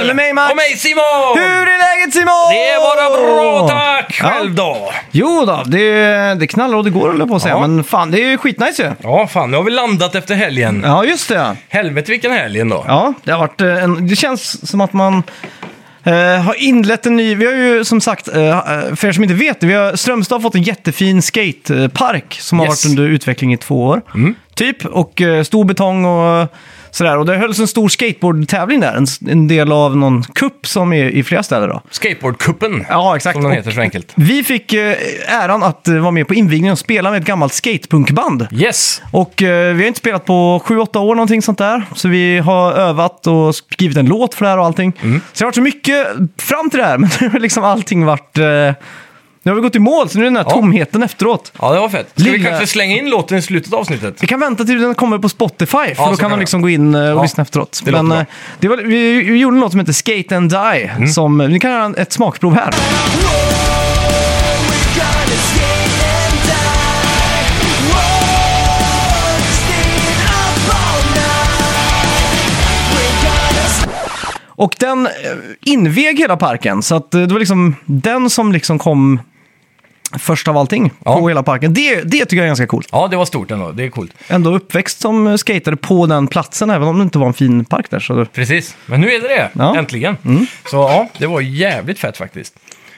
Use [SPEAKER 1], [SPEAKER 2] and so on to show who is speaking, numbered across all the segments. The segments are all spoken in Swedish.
[SPEAKER 1] Eller mig Max!
[SPEAKER 2] Och mig Simon!
[SPEAKER 1] Hur är läget Simon?
[SPEAKER 2] Det är bara bra tack! Själv
[SPEAKER 1] Ja.
[SPEAKER 2] då?
[SPEAKER 1] Jo då, det, det knallar och det går höll jag på att säga.
[SPEAKER 2] Ja.
[SPEAKER 1] Men fan, det är ju skitnice ju.
[SPEAKER 2] Ja, fan nu har vi landat efter helgen.
[SPEAKER 1] Ja, just det.
[SPEAKER 2] Helvete vilken helg ändå.
[SPEAKER 1] Ja, det har varit eh, en, Det känns som att man eh, har inlett en ny... Vi har ju som sagt, eh, för er som inte vet det, vi har, Strömstad har fått en jättefin skatepark som har
[SPEAKER 2] Yes.
[SPEAKER 1] varit under utveckling i två år. Typ, och eh, stor betong och sådär. Och det hölls en stor skateboardtävling där, en, s- en del av någon kupp som är i flera städer då.
[SPEAKER 2] Skateboardcupen.
[SPEAKER 1] Ja, exakt.
[SPEAKER 2] Som den
[SPEAKER 1] Och
[SPEAKER 2] heter så enkelt.
[SPEAKER 1] Vi fick eh, äran att eh, vara med på invigningen och spela med ett gammalt skatepunkband.
[SPEAKER 2] Yes!
[SPEAKER 1] Och eh, vi har inte spelat på 7-8 år någonting sånt där. Så vi har övat och skrivit en låt för det här och allting.
[SPEAKER 2] Mm.
[SPEAKER 1] Så det har varit så mycket fram till det här, men nu har liksom allting varit... Eh, nu har vi gått i mål, så nu är den här
[SPEAKER 2] Ja.
[SPEAKER 1] tomheten efteråt.
[SPEAKER 2] Ja, det var fett. Ska vi
[SPEAKER 1] Lilla-
[SPEAKER 2] kanske slänga in låten i slutet av avsnittet?
[SPEAKER 1] Vi kan vänta till den kommer på Spotify, för
[SPEAKER 2] så
[SPEAKER 1] då kan
[SPEAKER 2] kan
[SPEAKER 1] man
[SPEAKER 2] vi.
[SPEAKER 1] liksom gå in eh, och
[SPEAKER 2] Ja,
[SPEAKER 1] lyssna efteråt.
[SPEAKER 2] det låter
[SPEAKER 1] Men
[SPEAKER 2] bra. Mm.
[SPEAKER 1] eh, det var, vi, vi gjorde en låt som heter Skate and Die, som... eh, Ni kan göra ett smakprov här.
[SPEAKER 3] Gonna skate and die. Whoa, staying up all night. We're gonna
[SPEAKER 1] Och den eh, invig hela parken, så att eh, det var liksom den som liksom kom först av allting
[SPEAKER 2] Ja.
[SPEAKER 1] på hela parken. Det, det tycker jag är ganska coolt.
[SPEAKER 2] Ja, det var stort ändå. Det är coolt.
[SPEAKER 1] Ändå uppväxt som eh, skatare på den platsen, även om det inte var en fin park där. Så det...
[SPEAKER 2] Precis. Men nu är det det.
[SPEAKER 1] Ja. Mm.
[SPEAKER 2] Äntligen. Så ja, det var jävligt fett faktiskt.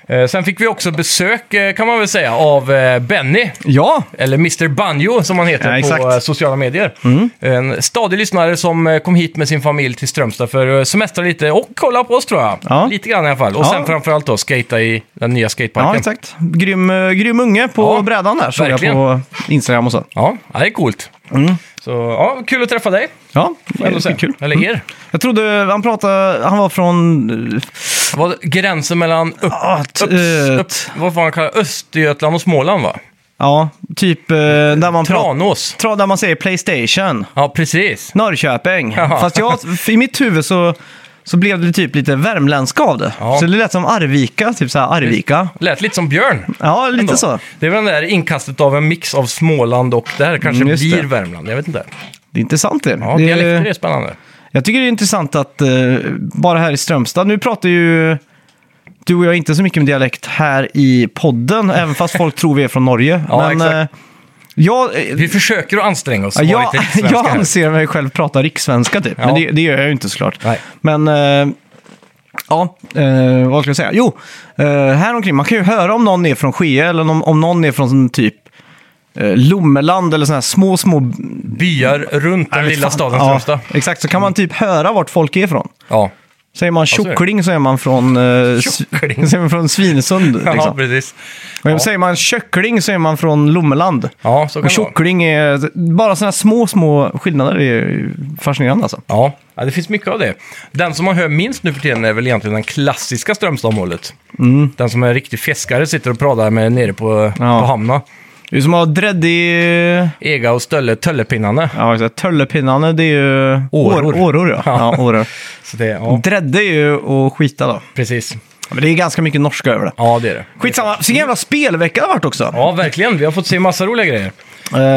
[SPEAKER 2] Eh, sen fick vi också besök, eh, kan man väl säga, av eh, Benny.
[SPEAKER 1] Ja,
[SPEAKER 2] Eller Mr Banjo som han
[SPEAKER 1] Ja,
[SPEAKER 2] heter
[SPEAKER 1] exakt. Mm.
[SPEAKER 2] på eh, sociala medier. En stadig lyssnare som eh, kom hit med sin familj till Strömstad för att semestra lite och kolla på oss tror jag.
[SPEAKER 1] Ja.
[SPEAKER 2] Lite grann i alla fall. Och
[SPEAKER 1] Ja.
[SPEAKER 2] sen framförallt då skata i den nya skateparken.
[SPEAKER 1] ja exakt. Grym, eh, grym unge på
[SPEAKER 2] Ja,
[SPEAKER 1] brädan där, såg jag
[SPEAKER 2] verkligen.
[SPEAKER 1] på Instagram och så.
[SPEAKER 2] Ja, ja, det är coolt. Så ja, kul att träffa dig.
[SPEAKER 1] Ja,
[SPEAKER 2] får jag ändå säga.
[SPEAKER 1] Mm. kul.
[SPEAKER 2] Eller er.
[SPEAKER 1] Jag trodde eh, han pratade, han var från... eh,
[SPEAKER 2] Vad gränsen mellan upp,
[SPEAKER 1] Ah, t-
[SPEAKER 2] upp,
[SPEAKER 1] eh,
[SPEAKER 2] upp, vad fan kallar Östergötland och Småland va?
[SPEAKER 1] Ja, typ eh, där man pratar...
[SPEAKER 2] Tranås.
[SPEAKER 1] Tra- där man säger Playstation.
[SPEAKER 2] Ja, precis.
[SPEAKER 1] Norrköping.
[SPEAKER 2] Ja.
[SPEAKER 1] Fast jag, i mitt huvud så, så blev det typ lite värmländska av det.
[SPEAKER 2] Ja.
[SPEAKER 1] Så det lät som Arvika, typ så här Arvika.
[SPEAKER 2] Lät lite som Björn.
[SPEAKER 1] Ja, lite
[SPEAKER 2] ändå.
[SPEAKER 1] så.
[SPEAKER 2] Det är väl den där inkastet av en mix av Småland och det här kanske
[SPEAKER 1] Mm, just
[SPEAKER 2] blir
[SPEAKER 1] det.
[SPEAKER 2] Värmland. Jag vet inte.
[SPEAKER 1] Det är intressant det.
[SPEAKER 2] Ja,
[SPEAKER 1] det
[SPEAKER 2] dialekter är spännande.
[SPEAKER 1] jag tycker det är intressant att eh, bara här i Strömstad, nu pratar ju du och jag inte så mycket om dialekt här i podden, även fast folk tror vi är från Norge.
[SPEAKER 2] Ja, exakt.
[SPEAKER 1] eh, jag, eh,
[SPEAKER 2] Vi försöker att anstränga oss.
[SPEAKER 1] Ja,
[SPEAKER 2] vara lite
[SPEAKER 1] jag,
[SPEAKER 2] rikssvenska
[SPEAKER 1] jag
[SPEAKER 2] här.
[SPEAKER 1] anser mig själv prata rikssvenska typ, men
[SPEAKER 2] Ja.
[SPEAKER 1] det, det gör jag ju inte såklart.
[SPEAKER 2] Nej.
[SPEAKER 1] Men, eh, ja, eh, vad ska jag säga? Jo, eh, här omkring, man kan ju höra om någon är från Skee eller om, om någon är från sån typ eh, Lommeland eller sådana här små, små...
[SPEAKER 2] Byar runt den lilla
[SPEAKER 1] Fan,
[SPEAKER 2] staden
[SPEAKER 1] ja,
[SPEAKER 2] Strömstad.
[SPEAKER 1] Exakt, så kan man typ höra vart folk är ifrån.
[SPEAKER 2] Ja.
[SPEAKER 1] Säger man
[SPEAKER 2] så är det.
[SPEAKER 1] tjockling så är man från, eh, s-
[SPEAKER 2] Tjockling.
[SPEAKER 1] så är man från Svinesund.
[SPEAKER 2] Ja,
[SPEAKER 1] Liksom.
[SPEAKER 2] precis.
[SPEAKER 1] Och Säger man köckling så är man från Lommeland.
[SPEAKER 2] Ja, så kan
[SPEAKER 1] Och
[SPEAKER 2] det vara.
[SPEAKER 1] tjockling är... Bara sådana små, små skillnader är ju fascinerande alltså.
[SPEAKER 2] Ja. ja, det finns mycket av det. Den som man hör minst nu för tiden är väl egentligen den klassiska Strömstadområdet. Den som är en riktig fiskare sitter och pratar med nere på,
[SPEAKER 1] Mm. Ja.
[SPEAKER 2] på hamna.
[SPEAKER 1] Det är som att ha dredd i...
[SPEAKER 2] Ega och Stölle, Töllepinnarna.
[SPEAKER 1] Ja, exakt. Töllepinnarna, det är ju...
[SPEAKER 2] Åror.
[SPEAKER 1] År- Åror, ja. ja åror.
[SPEAKER 2] Så det, ja,
[SPEAKER 1] Dredde är ju att skita då.
[SPEAKER 2] precis.
[SPEAKER 1] Men det är ganska mycket norska över det.
[SPEAKER 2] Ja, det är det.
[SPEAKER 1] Skitsamma, vilken jävla spelvecka det har varit också.
[SPEAKER 2] Ja, verkligen. Vi har fått se massa roliga grejer.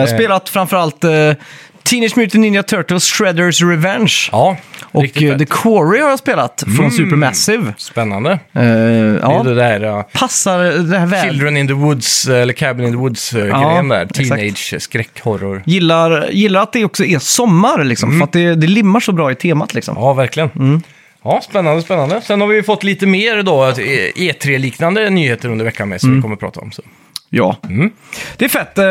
[SPEAKER 1] Eh, spelat framförallt eh, Teenage Mutant Ninja Turtles Shredders Revenge.
[SPEAKER 2] Ja,
[SPEAKER 1] Och
[SPEAKER 2] riktigt
[SPEAKER 1] eh,
[SPEAKER 2] fett. Mm.
[SPEAKER 1] The Quarry har jag spelat från Supermassive.
[SPEAKER 2] Spännande.
[SPEAKER 1] Eh,
[SPEAKER 2] Det är
[SPEAKER 1] ja,
[SPEAKER 2] det där... ja,
[SPEAKER 1] passar det här väl.
[SPEAKER 2] Children in the Woods, eh, eller Cabin in the Woods-grejen
[SPEAKER 1] Ja,
[SPEAKER 2] där.
[SPEAKER 1] exakt.
[SPEAKER 2] Teenage skräckhorror.
[SPEAKER 1] Gillar, gillar att det också är sommar liksom,
[SPEAKER 2] Mm.
[SPEAKER 1] för att det, det limmar så bra i temat liksom.
[SPEAKER 2] Ja, verkligen. Ja, spännande, spännande. Sen har vi ju fått lite mer då, att E3-liknande nyheter under veckan med som
[SPEAKER 1] Mm.
[SPEAKER 2] vi kommer att prata om. Så.
[SPEAKER 1] Ja.
[SPEAKER 2] Mm.
[SPEAKER 1] Det är fett. Eh,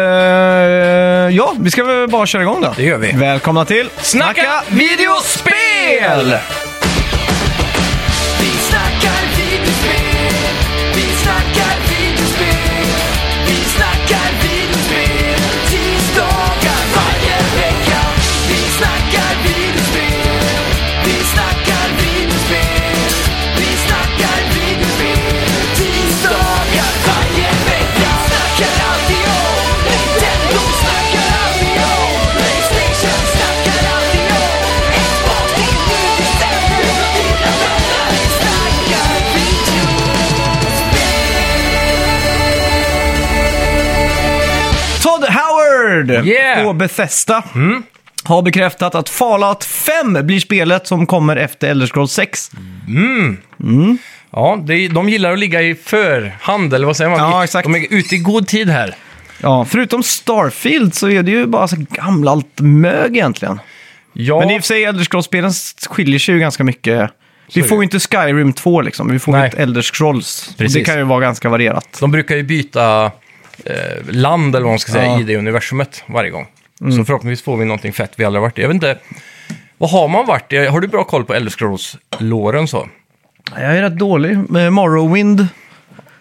[SPEAKER 1] ja, vi ska väl bara köra igång då.
[SPEAKER 2] Det gör vi.
[SPEAKER 1] Välkomna till
[SPEAKER 2] Snacka videospel!
[SPEAKER 3] Vi snackar videospel, vi snackar videospel, vi snackar videospel, tisdagar varje vecka. Vi snackar videospel, vi snackar videospel, vi snackar videospel, tisdagar varje vecka. Snackar alltid om Nintendo, snackar alltid om Playstation, snackar alltid om Xbox, det är nu det stämmer. Dina vänner, vi snackar video.
[SPEAKER 1] Todd Howard
[SPEAKER 2] Yeah! Mm.
[SPEAKER 1] på Bethesda. har bekräftat att Fallout 5 blir spelet som kommer efter Elder Scrolls 6.
[SPEAKER 2] Ja, det, de gillar att ligga i förhand, eller vad säger man?
[SPEAKER 1] Ja, exakt.
[SPEAKER 2] De är ute i god tid här.
[SPEAKER 1] Ja, förutom Starfield så är det ju bara så gammalt mög egentligen.
[SPEAKER 2] Ja,
[SPEAKER 1] Men i och för sig, Elder Scrolls-spelen skiljer sig ju ganska mycket. Vi
[SPEAKER 2] är det.
[SPEAKER 1] får ju inte Skyrim 2 liksom, vi får ju
[SPEAKER 2] Nej.
[SPEAKER 1] inte Elder Scrolls. Och Det
[SPEAKER 2] Precis.
[SPEAKER 1] kan ju vara ganska varierat.
[SPEAKER 2] de brukar ju byta eh, land, eller vad man ska säga,
[SPEAKER 1] Ja. Mm.
[SPEAKER 2] i det universumet varje gång. Så förhoppningsvis får vi någonting fett vi aldrig har varit i. Jag vet inte, vad har man varit i? Har du bra koll på Elder Scrolls-låren så?
[SPEAKER 1] Jag är rätt dålig. Med Morrowind.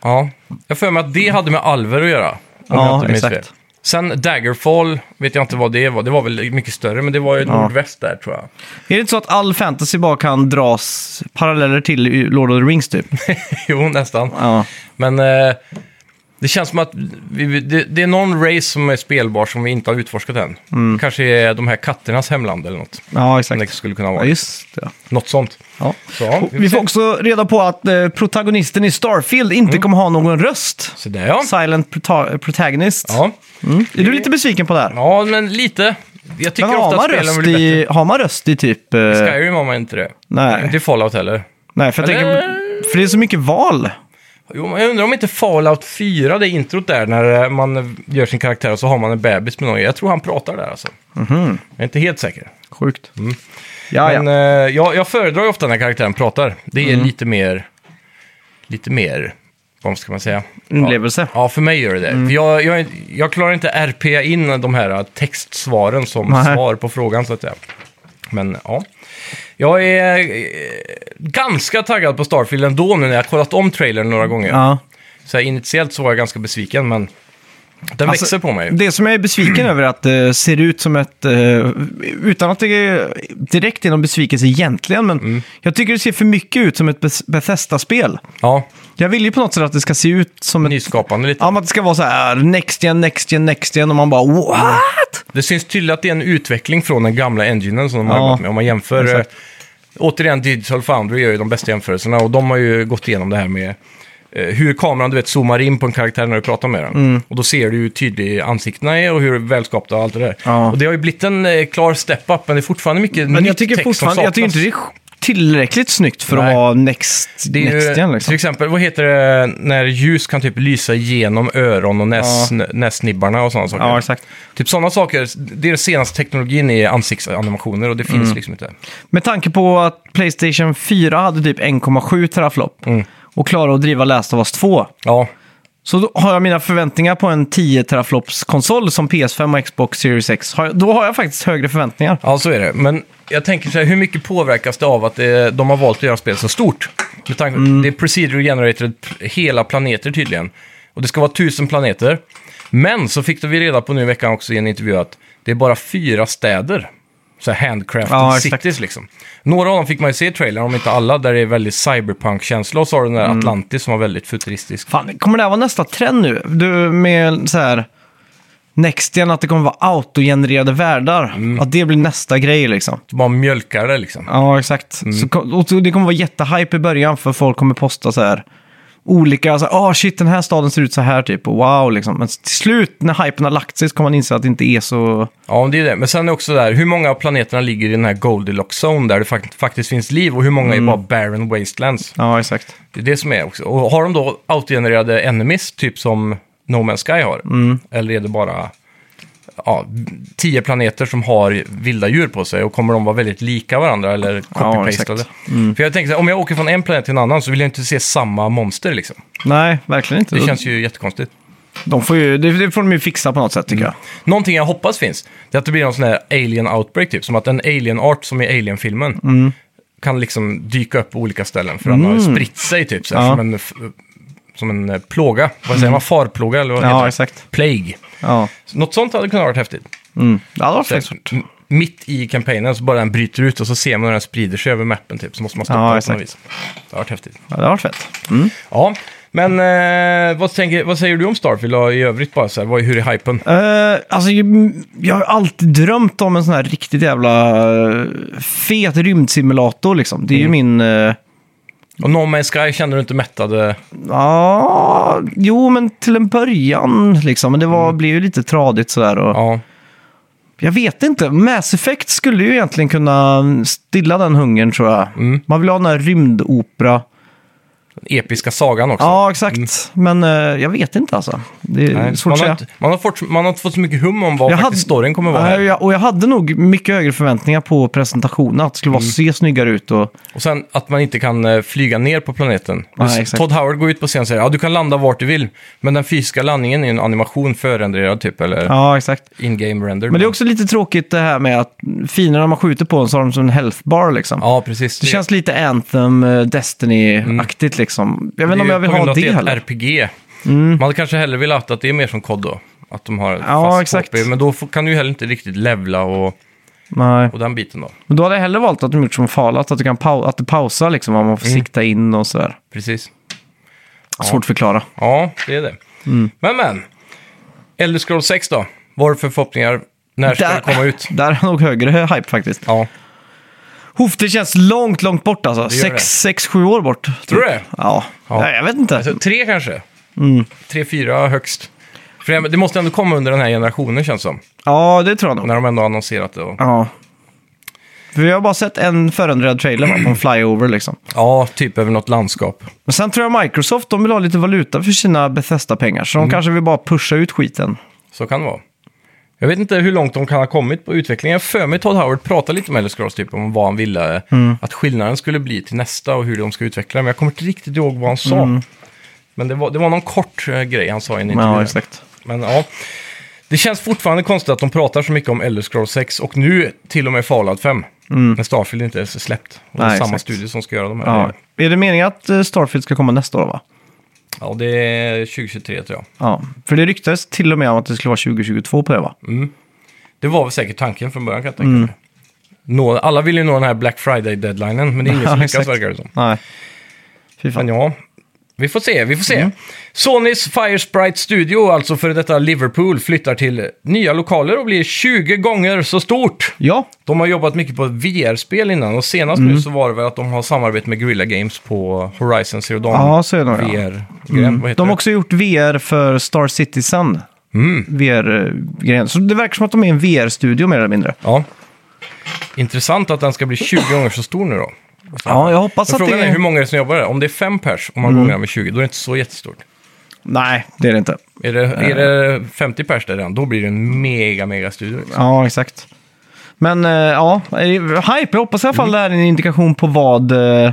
[SPEAKER 2] Ja, jag får för mig att det hade med Alver att göra. om
[SPEAKER 1] Ja,
[SPEAKER 2] jag inte minns
[SPEAKER 1] exakt.
[SPEAKER 2] fel. Sen Daggerfall, vet jag inte vad det var. Det var väl mycket större, men det var ju
[SPEAKER 1] Ja.
[SPEAKER 2] nordväst där tror jag.
[SPEAKER 1] Är det inte så att all fantasy bara kan dras paralleller till i Lord of the Rings typ?
[SPEAKER 2] jo, nästan.
[SPEAKER 1] Ja,
[SPEAKER 2] Men eh, det känns som att vi, vi- det, det är någon race som är spelbar som vi inte har utforskat än.
[SPEAKER 1] Mm.
[SPEAKER 2] Kanske är de här katternas hemland eller något.
[SPEAKER 1] ja
[SPEAKER 2] Som det
[SPEAKER 1] exakt.
[SPEAKER 2] skulle kunna
[SPEAKER 1] Ja,
[SPEAKER 2] vara.
[SPEAKER 1] just det.
[SPEAKER 2] något sånt.
[SPEAKER 1] Liksom. Ja.
[SPEAKER 2] Så, ja,
[SPEAKER 1] Och
[SPEAKER 2] vi får
[SPEAKER 1] vi får
[SPEAKER 2] se.
[SPEAKER 1] också reda på att eh, protagonisten i Starfield inte kommer ha någon röst.
[SPEAKER 2] Så där ja.
[SPEAKER 1] Silent prota- protagonist.
[SPEAKER 2] ja.
[SPEAKER 1] Mm. Är du lite besviken på det här?
[SPEAKER 2] Ja, men lite. Jag tycker
[SPEAKER 1] Men har
[SPEAKER 2] ofta
[SPEAKER 1] man,
[SPEAKER 2] att spelen
[SPEAKER 1] röst
[SPEAKER 2] blir bättre.
[SPEAKER 1] i, har man röst i typ... eh,
[SPEAKER 2] Skyrim har man inte det.
[SPEAKER 1] Nej.
[SPEAKER 2] Inte i Fallout heller.
[SPEAKER 1] Nej, för jag
[SPEAKER 2] Eller-
[SPEAKER 1] tänker... För det är så mycket val.
[SPEAKER 2] Jo, men jag undrar om inte Fallout 4, det introt där, när eh, man gör sin karaktär och så har man en bebis med någon. Jag tror han pratar där alltså.
[SPEAKER 1] Mhm.
[SPEAKER 2] Jag är inte helt säker.
[SPEAKER 1] Sjukt. Ja, Mm.
[SPEAKER 2] Men
[SPEAKER 1] ja.
[SPEAKER 2] eh, jag, jag föredrar ju ofta när karaktären pratar. Det är lite mer, lite mer, vad ska man säga?
[SPEAKER 1] Inlevelse. Mm.
[SPEAKER 2] Ja, ja för mig gör det det. För jag, jag, jag klarar inte RP in de här eh, textsvaren som
[SPEAKER 1] Nej.
[SPEAKER 2] svar på frågan så att säga. Men ja, jag är eh, ganska taggad på Starfield ändå nu när jag har kollat om trailern några gånger.
[SPEAKER 1] ja.
[SPEAKER 2] Så här, initiellt så var jag ganska besviken, men den
[SPEAKER 1] Alltså,
[SPEAKER 2] växer på mig.
[SPEAKER 1] Det som jag är besviken över är att det ser ut som ett... eh, utan att det är direkt är någon besvikelse egentligen, men
[SPEAKER 2] Mm.
[SPEAKER 1] jag tycker det ser för mycket ut som ett Beth- Bethesda-spel.
[SPEAKER 2] Ja,
[SPEAKER 1] Jag vill ju på något sätt att det ska se ut som ett...
[SPEAKER 2] nyskapande lite.
[SPEAKER 1] Ja, men att det ska vara så här next gen, next gen, next gen och man bara what?
[SPEAKER 2] Det syns tydligt att det är en utveckling från den gamla enginen som de har
[SPEAKER 1] Ja,
[SPEAKER 2] jobbat med. Om man jämför...
[SPEAKER 1] exakt.
[SPEAKER 2] Eh, återigen, Digital Foundry gör ju de bästa jämförelserna och de har ju gått igenom det här med eh, hur kameran du vet, zoomar in på en karaktär när du pratar med den.
[SPEAKER 1] Mm.
[SPEAKER 2] Och då ser du ju tydligt ansiktena är och hur välskapta och allt det där.
[SPEAKER 1] Ja.
[SPEAKER 2] Och det har ju blivit en eh, klar step-up, men det är fortfarande mycket
[SPEAKER 1] Men
[SPEAKER 2] nytt
[SPEAKER 1] jag tycker
[SPEAKER 2] text
[SPEAKER 1] fortfarande,
[SPEAKER 2] som
[SPEAKER 1] jag tycker
[SPEAKER 2] saknas.
[SPEAKER 1] inte det är tillräckligt snyggt för att
[SPEAKER 2] Nej.
[SPEAKER 1] vara next,
[SPEAKER 2] Det är ju,
[SPEAKER 1] next gen
[SPEAKER 2] Till
[SPEAKER 1] liksom.
[SPEAKER 2] exempel, vad heter det när ljus kan typ lysa genom öron och näs, nässnibbarna och sådana saker?
[SPEAKER 1] Ja, exakt.
[SPEAKER 2] Typ sådana saker, det är den senaste teknologin i ansiktsanimationer och det finns
[SPEAKER 1] Mm.
[SPEAKER 2] liksom inte.
[SPEAKER 1] Med tanke på att Playstation 4 hade typ 1,7 teraflop
[SPEAKER 2] Mm.
[SPEAKER 1] och klarade att driva Last of Us 2.
[SPEAKER 2] Ja,
[SPEAKER 1] Så då har jag mina förväntningar på en 10 teraflops konsol som PS5 och Xbox Series X. Har jag, då har jag faktiskt högre förväntningar.
[SPEAKER 2] ja, så är det. Men jag tänker så här, hur mycket påverkas det av att det, de har valt att göra spelet så stort? Med tanke,
[SPEAKER 1] Mm.
[SPEAKER 2] Det är procedural generated p- hela planeter tydligen. Och det ska vara tusen planeter. Men så fick vi reda på nu i veckan också i en intervju att det är bara fyra städer. Så här handcrafted
[SPEAKER 1] Ja, exakt.
[SPEAKER 2] cities liksom. Några av dem fick man ju se i trailern, om inte alla, där det är väldigt cyberpunk-känsla. Och så har du den
[SPEAKER 1] Mm.
[SPEAKER 2] där Atlantis som var väldigt futuristisk.
[SPEAKER 1] Fan, kommer det här vara nästa trend nu? Du, med så här... Next gen, att det kommer vara autogenererade världar.
[SPEAKER 2] Mm.
[SPEAKER 1] Att det blir nästa grej liksom.
[SPEAKER 2] Du bara mjölkar det liksom.
[SPEAKER 1] Ja, exakt. Så, kom- och så det kommer vara jättehype i början för folk kommer posta så här olika, så här, ah shit den här staden ser ut så här typ och wow liksom. Men till slut när hypen har lagt sig så kommer man inse att det inte är så...
[SPEAKER 2] Ja, det är det. Men sen är också där, hur många av planeterna ligger i den här Goldilocks zone där det fakt- faktiskt finns liv och hur många är bara barren wastelands?
[SPEAKER 1] Ja, exakt.
[SPEAKER 2] Det är det som är också. Och har de då autogenererade enemies, typ som No Man's Sky har? Eller är det bara ja, tio planeter som har vilda djur på sig och kommer de vara väldigt lika varandra eller copy-pastade?
[SPEAKER 1] exakt.
[SPEAKER 2] För jag tänker så här, om jag åker från en planet till en annan så vill jag inte se samma monster liksom.
[SPEAKER 1] Nej, verkligen inte.
[SPEAKER 2] Det känns ju jättekonstigt.
[SPEAKER 1] de får ju, det, det får de ju fixa på något sätt tycker jag.
[SPEAKER 2] Någonting jag hoppas finns, det är att det blir någon sån här alien outbreak typ. Som att en alien-art som i Alien-filmen
[SPEAKER 1] Mm.
[SPEAKER 2] kan liksom dyka upp på olika ställen. För den har spritt sig typ, så här,
[SPEAKER 1] Ja. Mm.
[SPEAKER 2] som, en, f- som en eh, plåga. Vad säger man? Farplåga eller vad
[SPEAKER 1] Ja,
[SPEAKER 2] heter det?
[SPEAKER 1] exakt.
[SPEAKER 2] Plague.
[SPEAKER 1] Ja,
[SPEAKER 2] Något sånt hade kunnat varit häftigt.
[SPEAKER 1] mm. det hade varit faktiskt
[SPEAKER 2] M- Mitt i kampanjen så bara den bryter ut och så ser man hur den sprider sig över mappen typ. Så måste man stoppa
[SPEAKER 1] Ja,
[SPEAKER 2] den på
[SPEAKER 1] exakt.
[SPEAKER 2] något vis. Det har varit häftigt.
[SPEAKER 1] Ja, det hade varit fett.
[SPEAKER 2] Ja, men eh, vad, tänker, vad säger du om Starfield och i övrigt bara så här? Vad, hur är hypen?
[SPEAKER 1] Eh, alltså, ju- jag har alltid drömt om en sån här riktigt jävla eh, fet rymdsimulator liksom. Det är ju min... eh,
[SPEAKER 2] Och No Man's Sky känner du inte mättade?
[SPEAKER 1] Ja,
[SPEAKER 2] Mm.
[SPEAKER 1] jo men till en början liksom. Men det var, blev ju lite tradigt sådär. Och
[SPEAKER 2] Ja.
[SPEAKER 1] Jag vet inte. Mass Effect skulle ju egentligen kunna stilla den hungern tror jag.
[SPEAKER 2] Mm.
[SPEAKER 1] Man vill ha den här rymdopera.
[SPEAKER 2] Den episka sagan också.
[SPEAKER 1] Ja, exakt. Men eh, jag vet inte alltså. Det är
[SPEAKER 2] Mm. Nej,
[SPEAKER 1] svårt
[SPEAKER 2] man,
[SPEAKER 1] att
[SPEAKER 2] har
[SPEAKER 1] säga.
[SPEAKER 2] inte, man, har fått, man har inte fått så mycket hum om vad
[SPEAKER 1] Jag
[SPEAKER 2] faktiskt
[SPEAKER 1] hade-
[SPEAKER 2] storyn kommer vara.
[SPEAKER 1] Nej, och
[SPEAKER 2] här.
[SPEAKER 1] jag- och jag hade nog mycket högre förväntningar på presentationen. Att det skulle vara
[SPEAKER 2] Mm.
[SPEAKER 1] se snyggare ut och...
[SPEAKER 2] Och sen att man inte kan eh, flyga ner på planeten.
[SPEAKER 1] Nej,
[SPEAKER 2] Du-
[SPEAKER 1] exakt.
[SPEAKER 2] Todd Howard går ut på scen och säger ja du kan landa vart du vill, men den fysiska landningen är en animation förändrad typ, eller
[SPEAKER 1] Ja, exakt.
[SPEAKER 2] in-game render.
[SPEAKER 1] Men det är också lite tråkigt det här med att fienderna när man skjuter på en så har de som en health bar liksom.
[SPEAKER 2] Ja, precis.
[SPEAKER 1] Det känns lite Anthem, eh, Destiny-aktigt
[SPEAKER 2] Mm.
[SPEAKER 1] liksom. Jag vet inte om jag vill ha det
[SPEAKER 2] heller.
[SPEAKER 1] heller. Mm.
[SPEAKER 2] RPG. Man hade kanske hellre velat att det är mer som kod då. Att de har
[SPEAKER 1] Ja,
[SPEAKER 2] fast
[SPEAKER 1] exakt.
[SPEAKER 2] HP, men då får- kan du ju heller inte riktigt levla och,
[SPEAKER 1] Nej.
[SPEAKER 2] och den biten då.
[SPEAKER 1] Men då hade jag hellre valt att de gjort som Fallout, att, du kan pau- att det pausar liksom, vad man
[SPEAKER 2] Mm.
[SPEAKER 1] får sikta in och sådär.
[SPEAKER 2] Precis.
[SPEAKER 1] Svårt att förklara.
[SPEAKER 2] Ja, det är det.
[SPEAKER 1] Mm.
[SPEAKER 2] Men men, Elder Scrolls 6 då? Vad har du för förhoppningar? När ska det komma ut?
[SPEAKER 1] där är nog högre hype faktiskt.
[SPEAKER 2] Ja,
[SPEAKER 1] Hof, det känns långt, långt bort alltså.
[SPEAKER 2] gör det.
[SPEAKER 1] Sex, sex, sju år bort. typ.
[SPEAKER 2] Tror du det?
[SPEAKER 1] Ja.
[SPEAKER 2] Ja.
[SPEAKER 1] Nej, jag vet inte.
[SPEAKER 2] alltså, tre kanske?
[SPEAKER 1] Mm.
[SPEAKER 2] Tre, fyra högst. För det- det måste ändå komma under den här generationen känns som.
[SPEAKER 1] Ja, det tror jag nog.
[SPEAKER 2] När de ändå har annonserat det. Och...
[SPEAKER 1] Ja. För jag har bara sett en förändrad trailer va, på en flyover liksom.
[SPEAKER 2] Ja, typ över något landskap.
[SPEAKER 1] Men sen tror jag Microsoft, de vill ha lite valuta för sina Bethesda-pengar. Så de
[SPEAKER 2] Mm.
[SPEAKER 1] kanske vill bara pusha ut skiten.
[SPEAKER 2] Så kan det vara. Jag vet inte hur långt de kan ha kommit på utvecklingen. Jag för mig Todd Howard pratade lite med Elder Scrolls typ om vad han ville
[SPEAKER 1] Mm.
[SPEAKER 2] att skillnaden skulle bli till nästa och hur de ska utveckla det. Men jag kommer inte riktigt ihåg vad han sa. Men det var, det var någon kort eh, grej han sa i en intervju.
[SPEAKER 1] Mm. Ja,
[SPEAKER 2] där.
[SPEAKER 1] exakt.
[SPEAKER 2] Men ja, det känns fortfarande konstigt att de pratar så mycket om Elder Scrolls 6 och nu till och med Fallout 5. När Starfield inte ens är släppt. Och det är
[SPEAKER 1] Mm. Nej,
[SPEAKER 2] samma
[SPEAKER 1] exakt.
[SPEAKER 2] studio som ska göra de här.
[SPEAKER 1] Ja.
[SPEAKER 2] grejerna.
[SPEAKER 1] Är det meningen att eh, Starfield ska komma nästa år va?
[SPEAKER 2] ja, det är 2023 tror jag.
[SPEAKER 1] Ja, för det ryktades till och med om att det skulle vara 2022 på det va?
[SPEAKER 2] Det var väl säkert tanken från början kan jag tänka
[SPEAKER 1] Mm.
[SPEAKER 2] mig. Nå, alla vill ju nå den här Black Friday-deadlinen, men det är ingen
[SPEAKER 1] Ja,
[SPEAKER 2] som lyckas
[SPEAKER 1] exakt.
[SPEAKER 2] verkar det som.
[SPEAKER 1] Nej. Fy
[SPEAKER 2] Men
[SPEAKER 1] fan.
[SPEAKER 2] ja, vi får se, vi får se.
[SPEAKER 1] Mm.
[SPEAKER 2] Sonys Firesprite Studio, alltså före detta Liverpool, flyttar till nya lokaler och blir 20 gånger så stort.
[SPEAKER 1] Ja,
[SPEAKER 2] De har jobbat mycket på VR-spel innan och senast
[SPEAKER 1] Mm.
[SPEAKER 2] nu så var det väl att de har samarbete med Guerrilla Games på Horizon Zero Dawn.
[SPEAKER 1] ja så är det nog. ja. Mm.
[SPEAKER 2] VR-gren, Mm. vad heter
[SPEAKER 1] De har
[SPEAKER 2] det?
[SPEAKER 1] också gjort VR för Star Citizen. VR-grejen. Så det verkar som att de är en VR-studio mer eller mindre.
[SPEAKER 2] Ja. Intressant att den ska bli 20 gånger så stor nu då.
[SPEAKER 1] Ja, jag hoppas
[SPEAKER 2] Men
[SPEAKER 1] att det Mm.
[SPEAKER 2] frågan är hur många är det som jobbar där? Om det är fem pers och man gånger med 20, då är det inte så jättestort.
[SPEAKER 1] Nej, det är det inte.
[SPEAKER 2] Är det, är det 50 pers där redan, då blir det en mega, mega studio. Liksom.
[SPEAKER 1] Ja, exakt. Men eh, ja, eh, hype. Jag hoppas i alla fall det här är en indikation på vad, eh,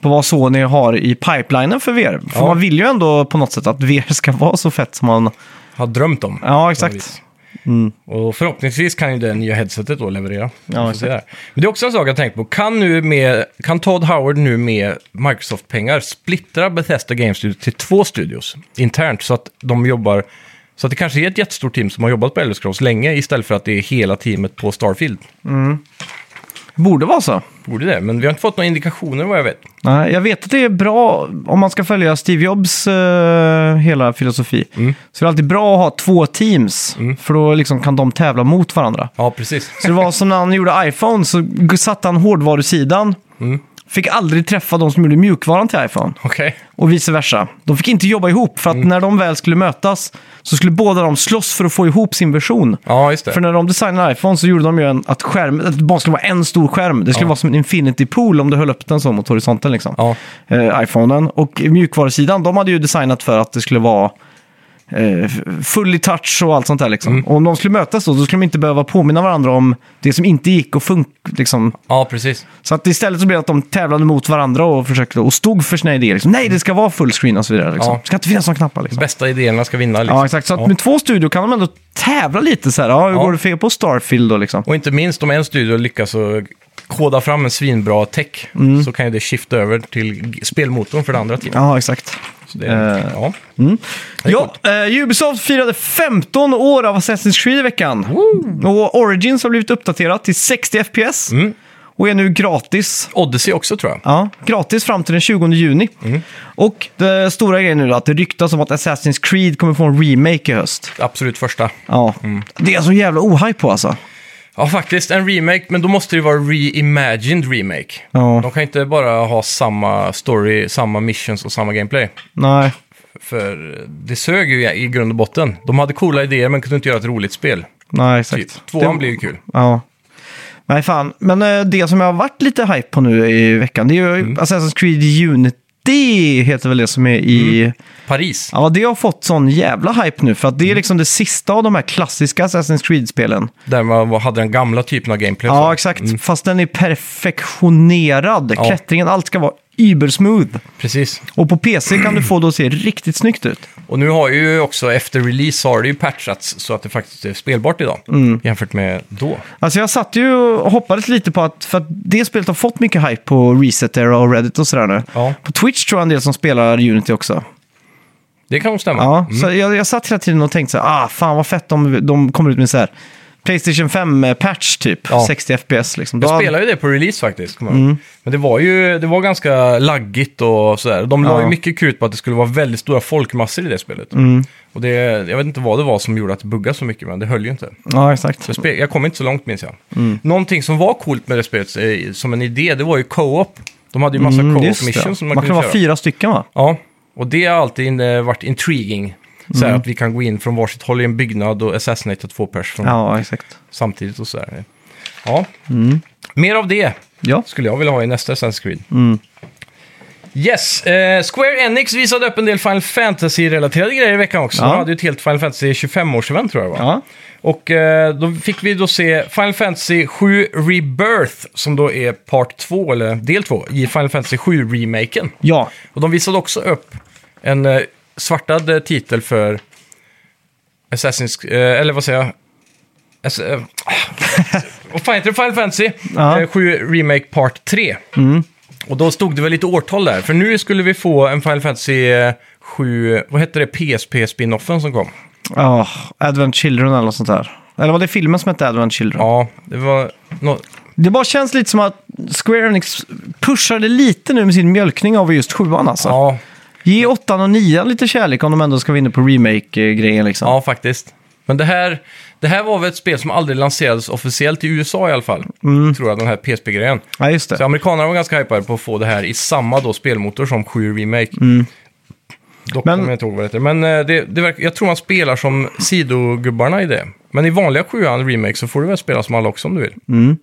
[SPEAKER 1] på vad Sony har i pipelinen för VR. För
[SPEAKER 2] Ja.
[SPEAKER 1] man vill ju ändå på något sätt att VR ska vara så fett som man...
[SPEAKER 2] Har drömt om.
[SPEAKER 1] Ja,
[SPEAKER 2] På något
[SPEAKER 1] exakt.
[SPEAKER 2] vis.
[SPEAKER 1] Mm.
[SPEAKER 2] Och förhoppningsvis kan ju det nya headsetet då leverera. Vi får se
[SPEAKER 1] exakt.
[SPEAKER 2] där. Men det är också en sak jag tänkt på. Kan, nu med, kan Todd Howard nu med Microsoft-pengar splittra Bethesda Game Studios till två studios internt så att de jobbar så att det kanske är ett jättestort team som har jobbat på Elder Scrolls länge istället för att det är hela teamet på Starfield.
[SPEAKER 1] Borde vara så.
[SPEAKER 2] Borde det, men vi har inte fått några indikationer vad jag vet.
[SPEAKER 1] Nej, jag vet att det är bra om man ska följa Steve Jobs eh, hela filosofi. Så det är alltid bra att ha två teams, för då liksom kan de tävla mot varandra.
[SPEAKER 2] Ja, precis.
[SPEAKER 1] Så det var som när han gjorde iPhone, så g- satte han hårdvarusidan.
[SPEAKER 2] Mm.
[SPEAKER 1] Fick aldrig träffa de som gjorde mjukvaran till iPhone.
[SPEAKER 2] Okej.
[SPEAKER 1] Och vice versa. De fick inte jobba ihop, för att
[SPEAKER 2] Mm.
[SPEAKER 1] när de väl skulle mötas så skulle båda de slåss för att få ihop sin version.
[SPEAKER 2] Ja, just det.
[SPEAKER 1] För när de designade iPhone så gjorde de ju en, att, skärm, att det bara skulle vara en stor skärm. Det skulle
[SPEAKER 2] Ja.
[SPEAKER 1] vara som en infinity pool om du höll upp den så mot horisonten. Liksom.
[SPEAKER 2] Ja.
[SPEAKER 1] Eh, iPhonen. Och mjukvarusidan, de hade ju designat för att det skulle vara eh, full i touch och allt sånt där. Liksom.
[SPEAKER 2] Mm.
[SPEAKER 1] Och om de skulle mötas då, då skulle de inte behöva påminna varandra om det som inte gick och funk. Liksom.
[SPEAKER 2] Ja, precis.
[SPEAKER 1] Så att istället så blev det att de tävlade mot varandra och försökte och stod för sina idéer. Liksom. Nej, det ska vara fullscreen och så vidare. Liksom.
[SPEAKER 2] Ja.
[SPEAKER 1] Det ska inte finnas några knappar. Liksom.
[SPEAKER 2] Bästa idéerna ska vinna. Liksom.
[SPEAKER 1] Ja, exakt. Så att
[SPEAKER 2] Ja.
[SPEAKER 1] med två studior kan de ändå tävla lite så här. Ja, hur
[SPEAKER 2] Ja.
[SPEAKER 1] går det för er på Starfield då liksom?
[SPEAKER 2] Och inte minst om en studio lyckas att koda fram en svinbra tech
[SPEAKER 1] Mm.
[SPEAKER 2] så kan ju det skifta över till g- spelmotorn för det andra teamet.
[SPEAKER 1] Ja, exakt.
[SPEAKER 2] Så det,
[SPEAKER 1] Eh,
[SPEAKER 2] ja.
[SPEAKER 1] Ja, eh, Ubisoft firade 15 år av Assassin's Creed i veckan. Och Origins har blivit uppdaterat till 60 FPS. Och är nu gratis.
[SPEAKER 2] Odyssey också tror jag.
[SPEAKER 1] Ja, gratis fram till den 20 juni. Och det stora grejen nu då, att det ryktas om att Assassin's Creed kommer få en remake i höst.
[SPEAKER 2] Absolut första.
[SPEAKER 1] Ja. Det är jag så jävla ohype på alltså.
[SPEAKER 2] Ja, faktiskt en remake, men då måste det ju vara reimagined remake.
[SPEAKER 1] Ja.
[SPEAKER 2] De kan inte bara ha samma story, samma missions och samma gameplay.
[SPEAKER 1] Nej.
[SPEAKER 2] För det sög ju i grund och botten. De hade coola idéer men kunde inte göra ett roligt spel.
[SPEAKER 1] Nej, exakt.
[SPEAKER 2] Typ. Tvåan
[SPEAKER 1] Det-
[SPEAKER 2] blir ju kul.
[SPEAKER 1] Ja. Nej, fan. Men eh, det som jag har varit lite hype på nu i veckan, det är ju Assassin's Creed Unity, heter väl det som är i...
[SPEAKER 2] Paris.
[SPEAKER 1] Ja, det har fått sån jävla hype nu, för att det
[SPEAKER 2] Mm.
[SPEAKER 1] är liksom det sista av de här klassiska Assassin's Creed-spelen.
[SPEAKER 2] Där man var- hade den gamla typen av gameplay. och
[SPEAKER 1] Ja,
[SPEAKER 2] så.
[SPEAKER 1] exakt. Fast den är perfektionerad.
[SPEAKER 2] Mm. Ja.
[SPEAKER 1] Klättringen, allt ska vara ubersmooth.
[SPEAKER 2] Precis.
[SPEAKER 1] Och på PC kan du få det att se riktigt snyggt ut.
[SPEAKER 2] Och nu har ju också efter release har det ju patchats så att det faktiskt är spelbart idag.
[SPEAKER 1] Mm.
[SPEAKER 2] Jämfört med då.
[SPEAKER 1] Alltså jag satt ju och hoppades lite på att, för att det spelet har fått mycket hype på Reset Era och Reddit och sådär nu.
[SPEAKER 2] Ja.
[SPEAKER 1] På Twitch tror jag en del som spelar Unity också.
[SPEAKER 2] Det kan nog stämma. Mm.
[SPEAKER 1] Ja, så jag, jag satt hela tiden och tänkte så här, ah fan vad fett om de kommer ut med så här Playstation 5-patch typ,
[SPEAKER 2] Ja.
[SPEAKER 1] 60 FPS liksom.
[SPEAKER 2] Jag
[SPEAKER 1] Då-
[SPEAKER 2] spelade ju det på release faktiskt. kommer jag
[SPEAKER 1] Mm.
[SPEAKER 2] ihåg. Men det var ju det var ganska laggigt och sådär. De la
[SPEAKER 1] Ja.
[SPEAKER 2] ju mycket krut på att det skulle vara väldigt stora folkmassor i det spelet.
[SPEAKER 1] Mm.
[SPEAKER 2] Och det, jag vet inte vad det var som gjorde att det buggade så mycket, men det höll ju inte.
[SPEAKER 1] Ja, exakt.
[SPEAKER 2] Så spe- jag kom inte så långt minns jag.
[SPEAKER 1] Mm.
[SPEAKER 2] Någonting som var coolt med det spelet eh, som en idé, det var ju co-op. De hade ju massa
[SPEAKER 1] Mm,
[SPEAKER 2] co-op
[SPEAKER 1] just det.
[SPEAKER 2] missions som man,
[SPEAKER 1] Man kan
[SPEAKER 2] kunde
[SPEAKER 1] vara
[SPEAKER 2] köra.
[SPEAKER 1] fyra stycken va?
[SPEAKER 2] Ja, och det har alltid in- varit intriguing. Så här
[SPEAKER 1] Mm.
[SPEAKER 2] att vi kan gå in från varsitt håll i en byggnad och assassinata två pers från
[SPEAKER 1] Ja, exakt.
[SPEAKER 2] samtidigt och sådär. Ja,
[SPEAKER 1] Mm.
[SPEAKER 2] mer av det
[SPEAKER 1] Ja.
[SPEAKER 2] skulle jag vilja ha i nästa Assassin's Creed.
[SPEAKER 1] Mm.
[SPEAKER 2] Yes, eh, Square Enix visade upp en del Final Fantasy-relaterade grejer i veckan också.
[SPEAKER 1] Ja.
[SPEAKER 2] De hade ju ett helt Final Fantasy 25-årsevent tror jag det var.
[SPEAKER 1] Ja.
[SPEAKER 2] Och eh, då fick vi då se Final Fantasy 7 Rebirth, som då är part 2, eller del 2, i Final Fantasy 7-remaken.
[SPEAKER 1] ja,
[SPEAKER 2] Och de visade också upp en eh, svartad eh, titel för Assassin's... Eh, eller vad säger jag? Ass eh, vad fan heter det? Final Fantasy
[SPEAKER 1] Ja.
[SPEAKER 2] eh, 7 Remake Part 3. Och då stod det väl lite årtal där, för nu skulle vi få en Final Fantasy eh, 7... Vad hette det? PSP-spinoffen som kom.
[SPEAKER 1] Ja, Ah, Advent Children eller något sånt där. Eller var det filmen som hette Advent Children?
[SPEAKER 2] Ja, det var... nå-
[SPEAKER 1] Det bara känns lite som att Square Enix pushade lite nu med sin mjölkning av just sjuan alltså.
[SPEAKER 2] ja,
[SPEAKER 1] Ge åttan och nian lite kärlek om de ändå ska vinna på remake-grejen liksom.
[SPEAKER 2] ja, faktiskt. Men det här, det här var väl ett spel som aldrig lanserades officiellt i USA i alla fall. Tror jag, den här PSP-grejen.
[SPEAKER 1] Mm. Ja, just
[SPEAKER 2] Så
[SPEAKER 1] det.
[SPEAKER 2] amerikanerna var ganska hypade på att få det här i samma då spelmotor som 7 Remake. Dock
[SPEAKER 1] Mm. Men-
[SPEAKER 2] kommer jag inte ihåg vad det heter. Men eh, det, det verkar, jag tror man spelar som sidogubbarna i det. Men i vanliga 7 Remake så får du väl spela som alla också om du vill.
[SPEAKER 1] Mm.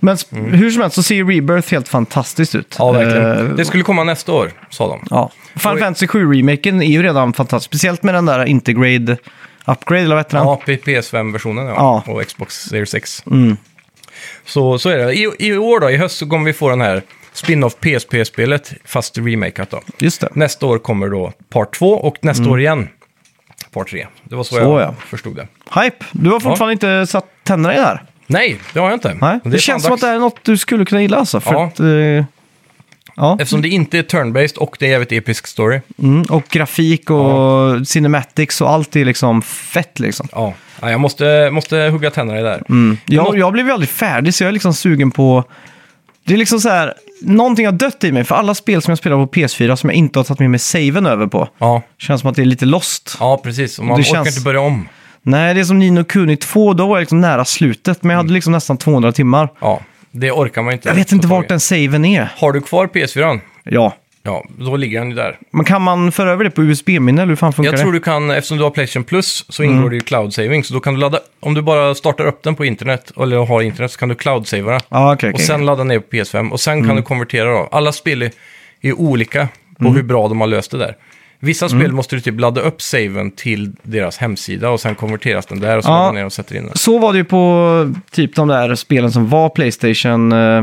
[SPEAKER 1] Men sp-
[SPEAKER 2] Mm.
[SPEAKER 1] hur som helst så ser Rebirth helt fantastiskt ut. Eh,
[SPEAKER 2] det skulle komma nästa år, sa de.
[SPEAKER 1] ja. Final Fantasy 7-remaken är ju redan fantastisk. Speciellt med den där Integrade Upgrade, eller vad heter den?
[SPEAKER 2] Ja, P- PS5-versionen ja.
[SPEAKER 1] Ja. Mm.
[SPEAKER 2] Och Xbox Series X. Så, så är det. I, I år då, i höst så kommer vi få den här spin-off PSP-spelet, fast remakeat då.
[SPEAKER 1] Just det.
[SPEAKER 2] Nästa år kommer då part 2 och nästa år igen part 3. Det var så,
[SPEAKER 1] Mm. Så,
[SPEAKER 2] jag
[SPEAKER 1] ja.
[SPEAKER 2] förstod det.
[SPEAKER 1] Hype! Du har fortfarande inte satt tänderna i det här.
[SPEAKER 2] Nej, det har jag inte.
[SPEAKER 1] Nej. Det,
[SPEAKER 2] är
[SPEAKER 1] känns
[SPEAKER 2] fan
[SPEAKER 1] som att det
[SPEAKER 2] dags.
[SPEAKER 1] här är något du skulle kunna gilla alltså. För
[SPEAKER 2] Ja.
[SPEAKER 1] att, eh, ja.
[SPEAKER 2] Eftersom det inte är turn-based och det är jävligt episk story.
[SPEAKER 1] Mm, och grafik och cinematics och allt är liksom fett liksom.
[SPEAKER 2] Ja, ja jag måste, måste hugga tänderna i det här.
[SPEAKER 1] Jag, jag blev ju aldrig färdig så jag är liksom sugen på... Det är liksom så här, någonting har dött i mig för alla spel som jag spelar på PS4 som jag inte har tagit med mig saven över på.
[SPEAKER 2] Ja,
[SPEAKER 1] Känns som att det är lite lost.
[SPEAKER 2] ja precis. Och man
[SPEAKER 1] Det
[SPEAKER 2] orkar
[SPEAKER 1] känns-
[SPEAKER 2] inte börja om.
[SPEAKER 1] Nej, det är som Nino Kuni 2, då var jag liksom nära slutet men jag
[SPEAKER 2] Mm.
[SPEAKER 1] hade liksom nästan 200 timmar.
[SPEAKER 2] Ja, det orkar man inte.
[SPEAKER 1] Jag vet
[SPEAKER 2] ta
[SPEAKER 1] inte
[SPEAKER 2] tag i.
[SPEAKER 1] vart den saven är.
[SPEAKER 2] Har du kvar PS4?
[SPEAKER 1] Ja.
[SPEAKER 2] Ja, då ligger den ju där.
[SPEAKER 1] Men kan man föra över det på USB-minne eller hur fan funkar
[SPEAKER 2] Jag tror
[SPEAKER 1] det? Mm.
[SPEAKER 2] du kan, eftersom du har Playstation Plus, så ingår det ju cloud saving. Så då kan du ladda, om du bara startar upp den på internet, eller har internet, så kan du cloud savea den.
[SPEAKER 1] Ja, Ah, okej.
[SPEAKER 2] Och
[SPEAKER 1] okej. Mm.
[SPEAKER 2] sen ladda ner på PS5 och sen kan du konvertera då. Alla spel är, är olika på hur bra de har löst det där. Vissa spel
[SPEAKER 1] Mm.
[SPEAKER 2] måste du typ ladda upp saven till deras hemsida och sen konverteras den där och så
[SPEAKER 1] Ja.
[SPEAKER 2] laddar ner och sätter in den.
[SPEAKER 1] Så var det ju på typ de där spelen som var Playstation... Eh,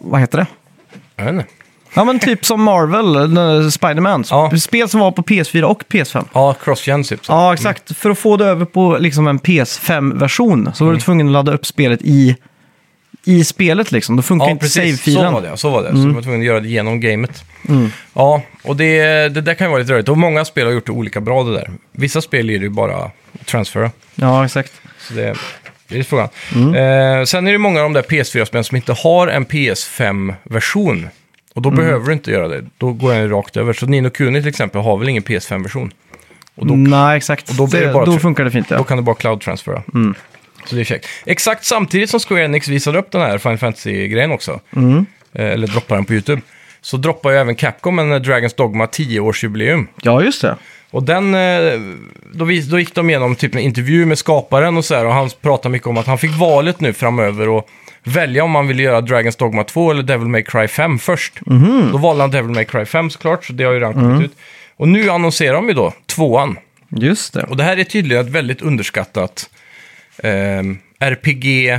[SPEAKER 1] vad heter det?
[SPEAKER 2] Jag vet inte.
[SPEAKER 1] Ja men typ som Marvel, eh, Spiderman.
[SPEAKER 2] Ja.
[SPEAKER 1] Spel som var på PS4 och PS5.
[SPEAKER 2] Ja, cross-gen typ. Så.
[SPEAKER 1] Ja exakt, för att få det över på liksom en PS5-version så var
[SPEAKER 2] Mm.
[SPEAKER 1] du tvungen att ladda upp spelet i, i spelet liksom. Då funkar
[SPEAKER 2] Ja,
[SPEAKER 1] inte
[SPEAKER 2] precis. Så var
[SPEAKER 1] save-filen.
[SPEAKER 2] det, så var det. Så de var tvungna att göra det genom gamet. Ja, och det, det där kan ju vara lite rörigt. Och många spel har gjort det olika bra det där. Vissa spel är det ju bara transfera.
[SPEAKER 1] Ja exakt.
[SPEAKER 2] Så det, det är frågan. Eh, sen är det många av de där PS4-spelen som inte har en PS5-version. Och då behöver du inte göra det. Då går den ju rakt över. Så Nino Kuni till exempel har väl ingen PS5-version. då-
[SPEAKER 1] Nej exakt,
[SPEAKER 2] då blir det
[SPEAKER 1] det,
[SPEAKER 2] bara
[SPEAKER 1] då
[SPEAKER 2] tr-
[SPEAKER 1] funkar det fint
[SPEAKER 2] Då
[SPEAKER 1] ja.
[SPEAKER 2] kan du bara cloud-transfera. Så det är käckt. Exakt samtidigt som Square Enix visade upp den här Final Fantasy-grejen också. Eh, eller droppade den på YouTube. Så droppar ju även Capcom en eh, Dragon's Dogma 10-årsjubileum.
[SPEAKER 1] Ja just det.
[SPEAKER 2] Och den, eh, då, vis- då gick de igenom typ en intervju med skaparen och så här, och han pratade mycket om att han fick valet nu framöver och välja om han ville göra Dragon's Dogma 2 eller Devil May Cry 5 först. Då valde han Devil May Cry 5 såklart, så det har ju redan kommit ut. Och nu annonserar de ju då tvåan.
[SPEAKER 1] Just det.
[SPEAKER 2] Och det här är tydligen ett väldigt underskattat ehm, RPG.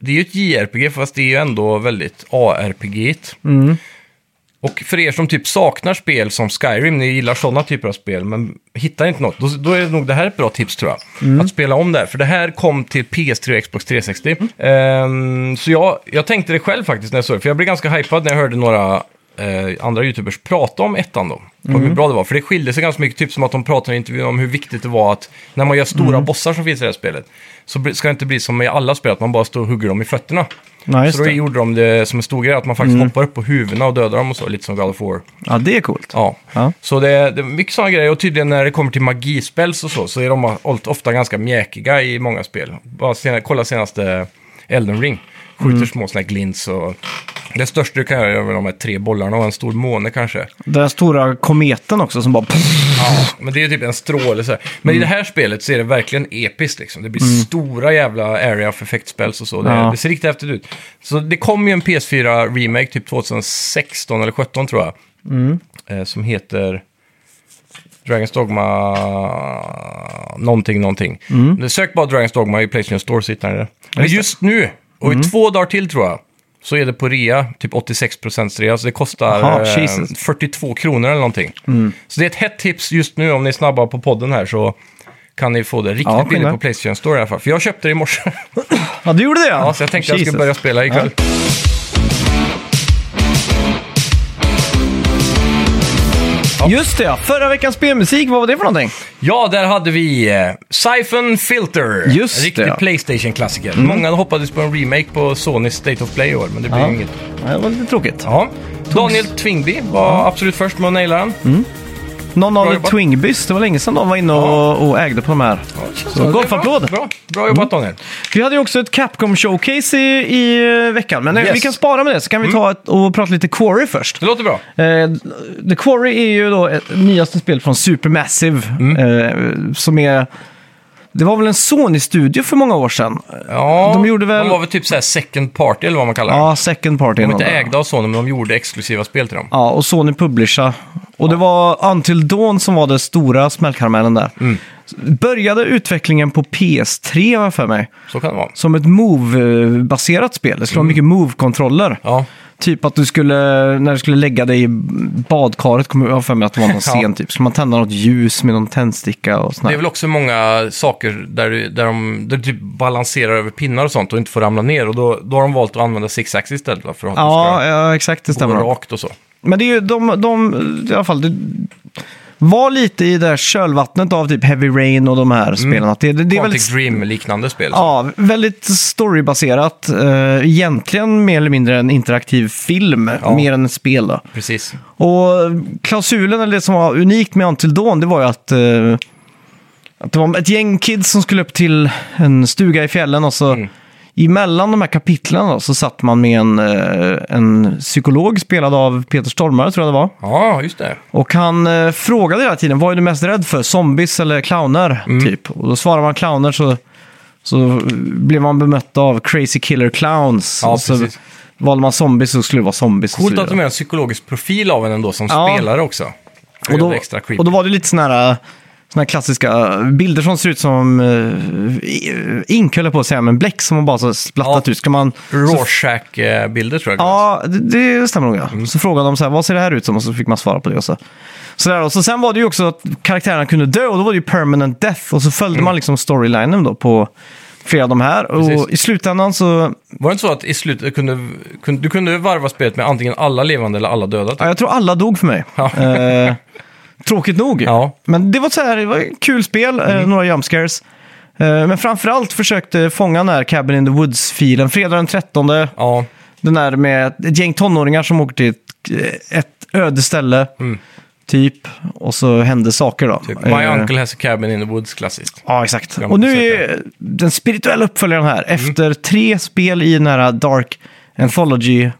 [SPEAKER 2] Det är ju ett JRPG, fast det är ju ändå väldigt ARPG. Och för er som typ saknar spel som Skyrim, ni gillar sådana typer av spel, men hittar inte något, då, då är nog det här ett bra tips tror jag.
[SPEAKER 1] Mm.
[SPEAKER 2] Att spela om det här, för det här kom till PS3 och Xbox 360.
[SPEAKER 1] Mm.
[SPEAKER 2] Ehm, så jag, jag tänkte det själv faktiskt när jag såg det, för jag blev ganska hypad när jag hörde några eh, andra YouTubers prata om ettan då. Och
[SPEAKER 1] Mm.
[SPEAKER 2] hur bra det var, för det skilde sig ganska mycket, typ som att de pratade i intervjun om hur viktigt det var att när man gör stora
[SPEAKER 1] Mm.
[SPEAKER 2] bossar som finns i det här spelet, så bli- ska det inte bli som i alla spel, att man bara står och hugger dem i fötterna.
[SPEAKER 1] Ja, just
[SPEAKER 2] så då
[SPEAKER 1] det.
[SPEAKER 2] gjorde de det som en stor grej, att man faktiskt hoppar upp på huvudena och dödar dem och så, lite som God of War.
[SPEAKER 1] Ja, det är coolt.
[SPEAKER 2] Ja.
[SPEAKER 1] Ja.
[SPEAKER 2] Så det, det är mycket sådana grejer. Och tydligen när det kommer till magispells och så, så är de ofta ganska mjäkiga i många spel. Bara sen, kolla senaste Elden Ring. Skjuter små sådana här glints och... Det största du kan göra är väl de här tre bollarna och en stor måne kanske.
[SPEAKER 1] Den här stora kometen också som bara...
[SPEAKER 2] Men det är ju typ en stråle så här. Men i det här spelet så är det verkligen episkt liksom. Det blir stora jävla area of effect spells och så. Det,
[SPEAKER 1] Ja.
[SPEAKER 2] det ser riktigt häftigt ut. Så det kom ju en PS4-remake typ 2016 eller 17 tror jag. Eh, som heter Dragon's Dogma någonting, någonting. Mm. Sök bara Dragon's Dogma i Playstation Store så hittar ni det. Men just nu, och i två dagar till tror jag, så är det på rea, typ 86% rea, så det kostar
[SPEAKER 1] Jaha,
[SPEAKER 2] eh,
[SPEAKER 1] Jesus.
[SPEAKER 2] 42 kronor eller någonting.
[SPEAKER 1] Mm.
[SPEAKER 2] Så det är ett hett tips just nu om ni är snabba på podden här så kan ni få det riktigt
[SPEAKER 1] Ja,
[SPEAKER 2] billigt
[SPEAKER 1] skynda.
[SPEAKER 2] på Playstation Store i alla fall. För jag köpte det i morse,
[SPEAKER 1] Ja, du gjorde det
[SPEAKER 2] ja, så jag tänkte jag
[SPEAKER 1] Jesus.
[SPEAKER 2] skulle börja spela ikväll.
[SPEAKER 1] Just det, ja. Förra veckans spelmusik, vad var det för någonting?
[SPEAKER 2] Ja, där hade vi eh, Siphon Filter.
[SPEAKER 1] Just
[SPEAKER 2] Riktig
[SPEAKER 1] det. Mm.
[SPEAKER 2] Playstation-klassiker. Många hoppades på en remake på Sonys State of Play i år, men det blir
[SPEAKER 1] Ja.
[SPEAKER 2] inget.
[SPEAKER 1] Ja, Det var lite tråkigt.
[SPEAKER 2] Ja. Daniel Twingby var absolut först med att naila den.
[SPEAKER 1] Mm. Någon
[SPEAKER 2] Bra
[SPEAKER 1] av
[SPEAKER 2] jobbat.
[SPEAKER 1] Twingbys, det var länge sedan de var inne och, och ägde på de här.
[SPEAKER 2] Så det är
[SPEAKER 1] golfapplåd.
[SPEAKER 2] Bra, bra. bra jobbat
[SPEAKER 1] Mm.
[SPEAKER 2] Daniel.
[SPEAKER 1] Vi hade ju också ett Capcom-showcase i, i eh, veckan, men eh,
[SPEAKER 2] Yes.
[SPEAKER 1] vi kan spara med det så kan vi ta ett, och prata lite Quarry först.
[SPEAKER 2] Det låter bra.
[SPEAKER 1] Eh, The Quarry är ju då ett nyaste spel från Supermassive, eh, som är... Det var väl en Sony-studio för många år sedan?
[SPEAKER 2] Ja,
[SPEAKER 1] De gjorde väl-
[SPEAKER 2] de var väl typ såhär second party eller vad man kallar det.
[SPEAKER 1] Ja, Second Party.
[SPEAKER 2] De var
[SPEAKER 1] någon
[SPEAKER 2] inte
[SPEAKER 1] där.
[SPEAKER 2] ägda av Sony, men de gjorde exklusiva spel till dem.
[SPEAKER 1] Ja, och Sony publisha. Och det var Until Dawn som var den stora smällkaramellen där.
[SPEAKER 2] Mm.
[SPEAKER 1] Började utvecklingen på PS3 har jag för mig.
[SPEAKER 2] Så kan det vara.
[SPEAKER 1] Som ett Move-baserat spel. Det skulle vara mycket Move-kontroller.
[SPEAKER 2] Mm. Ja,
[SPEAKER 1] Typ att du skulle, när du skulle lägga dig i badkaret, kommer jag har för mig att det var någon
[SPEAKER 2] Ja.
[SPEAKER 1] scen typ. Skulle man tända något ljus med någon tändsticka och sånt
[SPEAKER 2] det är
[SPEAKER 1] där.
[SPEAKER 2] väl också många saker där, du- där, de, där du typ balanserar över pinnar och sånt och inte får ramla ner. Och då, då har de valt att använda six axis istället va, för att
[SPEAKER 1] Ja, ja, exakt det
[SPEAKER 2] du ska gå
[SPEAKER 1] stämmer.
[SPEAKER 2] rakt och så.
[SPEAKER 1] Men det är ju de, de i alla fall, det var lite i det här kölvattnet av typ Heavy Rain och de här spelen. Att det, det, det är väldigt
[SPEAKER 2] Mm. Quantic Dream-liknande spel.
[SPEAKER 1] Ja, väldigt storybaserat. Eh, egentligen mer eller mindre en interaktiv film,
[SPEAKER 2] Ja.
[SPEAKER 1] mer än ett spel. Då.
[SPEAKER 2] Precis.
[SPEAKER 1] Och klausulen, eller det som var unikt med Until Dawn, det var ju att, eh, att det var ett gäng kids som skulle upp till en stuga i fjällen och så emellan de här kapitlen då, så satt man med en, eh, en psykolog spelad av Peter Stormare, tror jag det var.
[SPEAKER 2] Ja, just det.
[SPEAKER 1] Och han eh, frågade hela tiden, vad är du mest rädd för? Zombies eller clowner?
[SPEAKER 2] Mm.
[SPEAKER 1] Typ. Och då svarar man clowner så, så blev man bemött av crazy killer clowns.
[SPEAKER 2] Ja,
[SPEAKER 1] och så
[SPEAKER 2] precis.
[SPEAKER 1] valde man zombies så skulle det vara zombies. och så
[SPEAKER 2] Coolt att de
[SPEAKER 1] vidare.
[SPEAKER 2] gör en psykologisk profil av en ändå som
[SPEAKER 1] Ja.
[SPEAKER 2] spelare också. Det
[SPEAKER 1] och
[SPEAKER 2] är
[SPEAKER 1] då,
[SPEAKER 2] extra creepy.
[SPEAKER 1] och då var det lite sådana här, såna här klassiska eh, bilder som ser ut som uh, ink, höll jag på att säga, men bläck som man bara så splattat
[SPEAKER 2] Ja.
[SPEAKER 1] ut. Ska man... så-
[SPEAKER 2] Rorschach-bilder tror jag.
[SPEAKER 1] Ja, det, det stämmer nog. Ja.
[SPEAKER 2] Mm.
[SPEAKER 1] Så frågade de så här, vad ser det här ut som? Och så fick man svara på det. Och så. Så där, och så sen var det ju också att karaktärerna kunde dö och då var det ju permanent death. Och så följde
[SPEAKER 2] Mm.
[SPEAKER 1] man liksom storylinen då på flera av de här.
[SPEAKER 2] Precis.
[SPEAKER 1] Och i slutändan så,
[SPEAKER 2] Var det inte så att i slutet kunde, kunde, du kunde varva spelet med antingen alla levande eller alla döda? typ?
[SPEAKER 1] ja, jag tror alla dog för mig.
[SPEAKER 2] Ja.
[SPEAKER 1] Eh, tråkigt nog.
[SPEAKER 2] Ja. Mm.
[SPEAKER 1] Men det var så här, det var ett kul spel, eh, några jump scares. Eh, men framförallt försökte fånga den här Cabin in the Woods-filen. Fredag den 13,
[SPEAKER 2] Ja,
[SPEAKER 1] den där med ett gäng tonåringar som åker till ett, ett öde ställe. Typ. Och så hände saker då.
[SPEAKER 2] Mm. typ. My
[SPEAKER 1] Eh,
[SPEAKER 2] uncle has a cabin in the woods, klassiskt.
[SPEAKER 1] Ja, exakt.
[SPEAKER 2] Gammal
[SPEAKER 1] Och nu är den
[SPEAKER 2] Mm.
[SPEAKER 1] spirituella uppföljaren här. Efter tre spel i den här Dark Anthology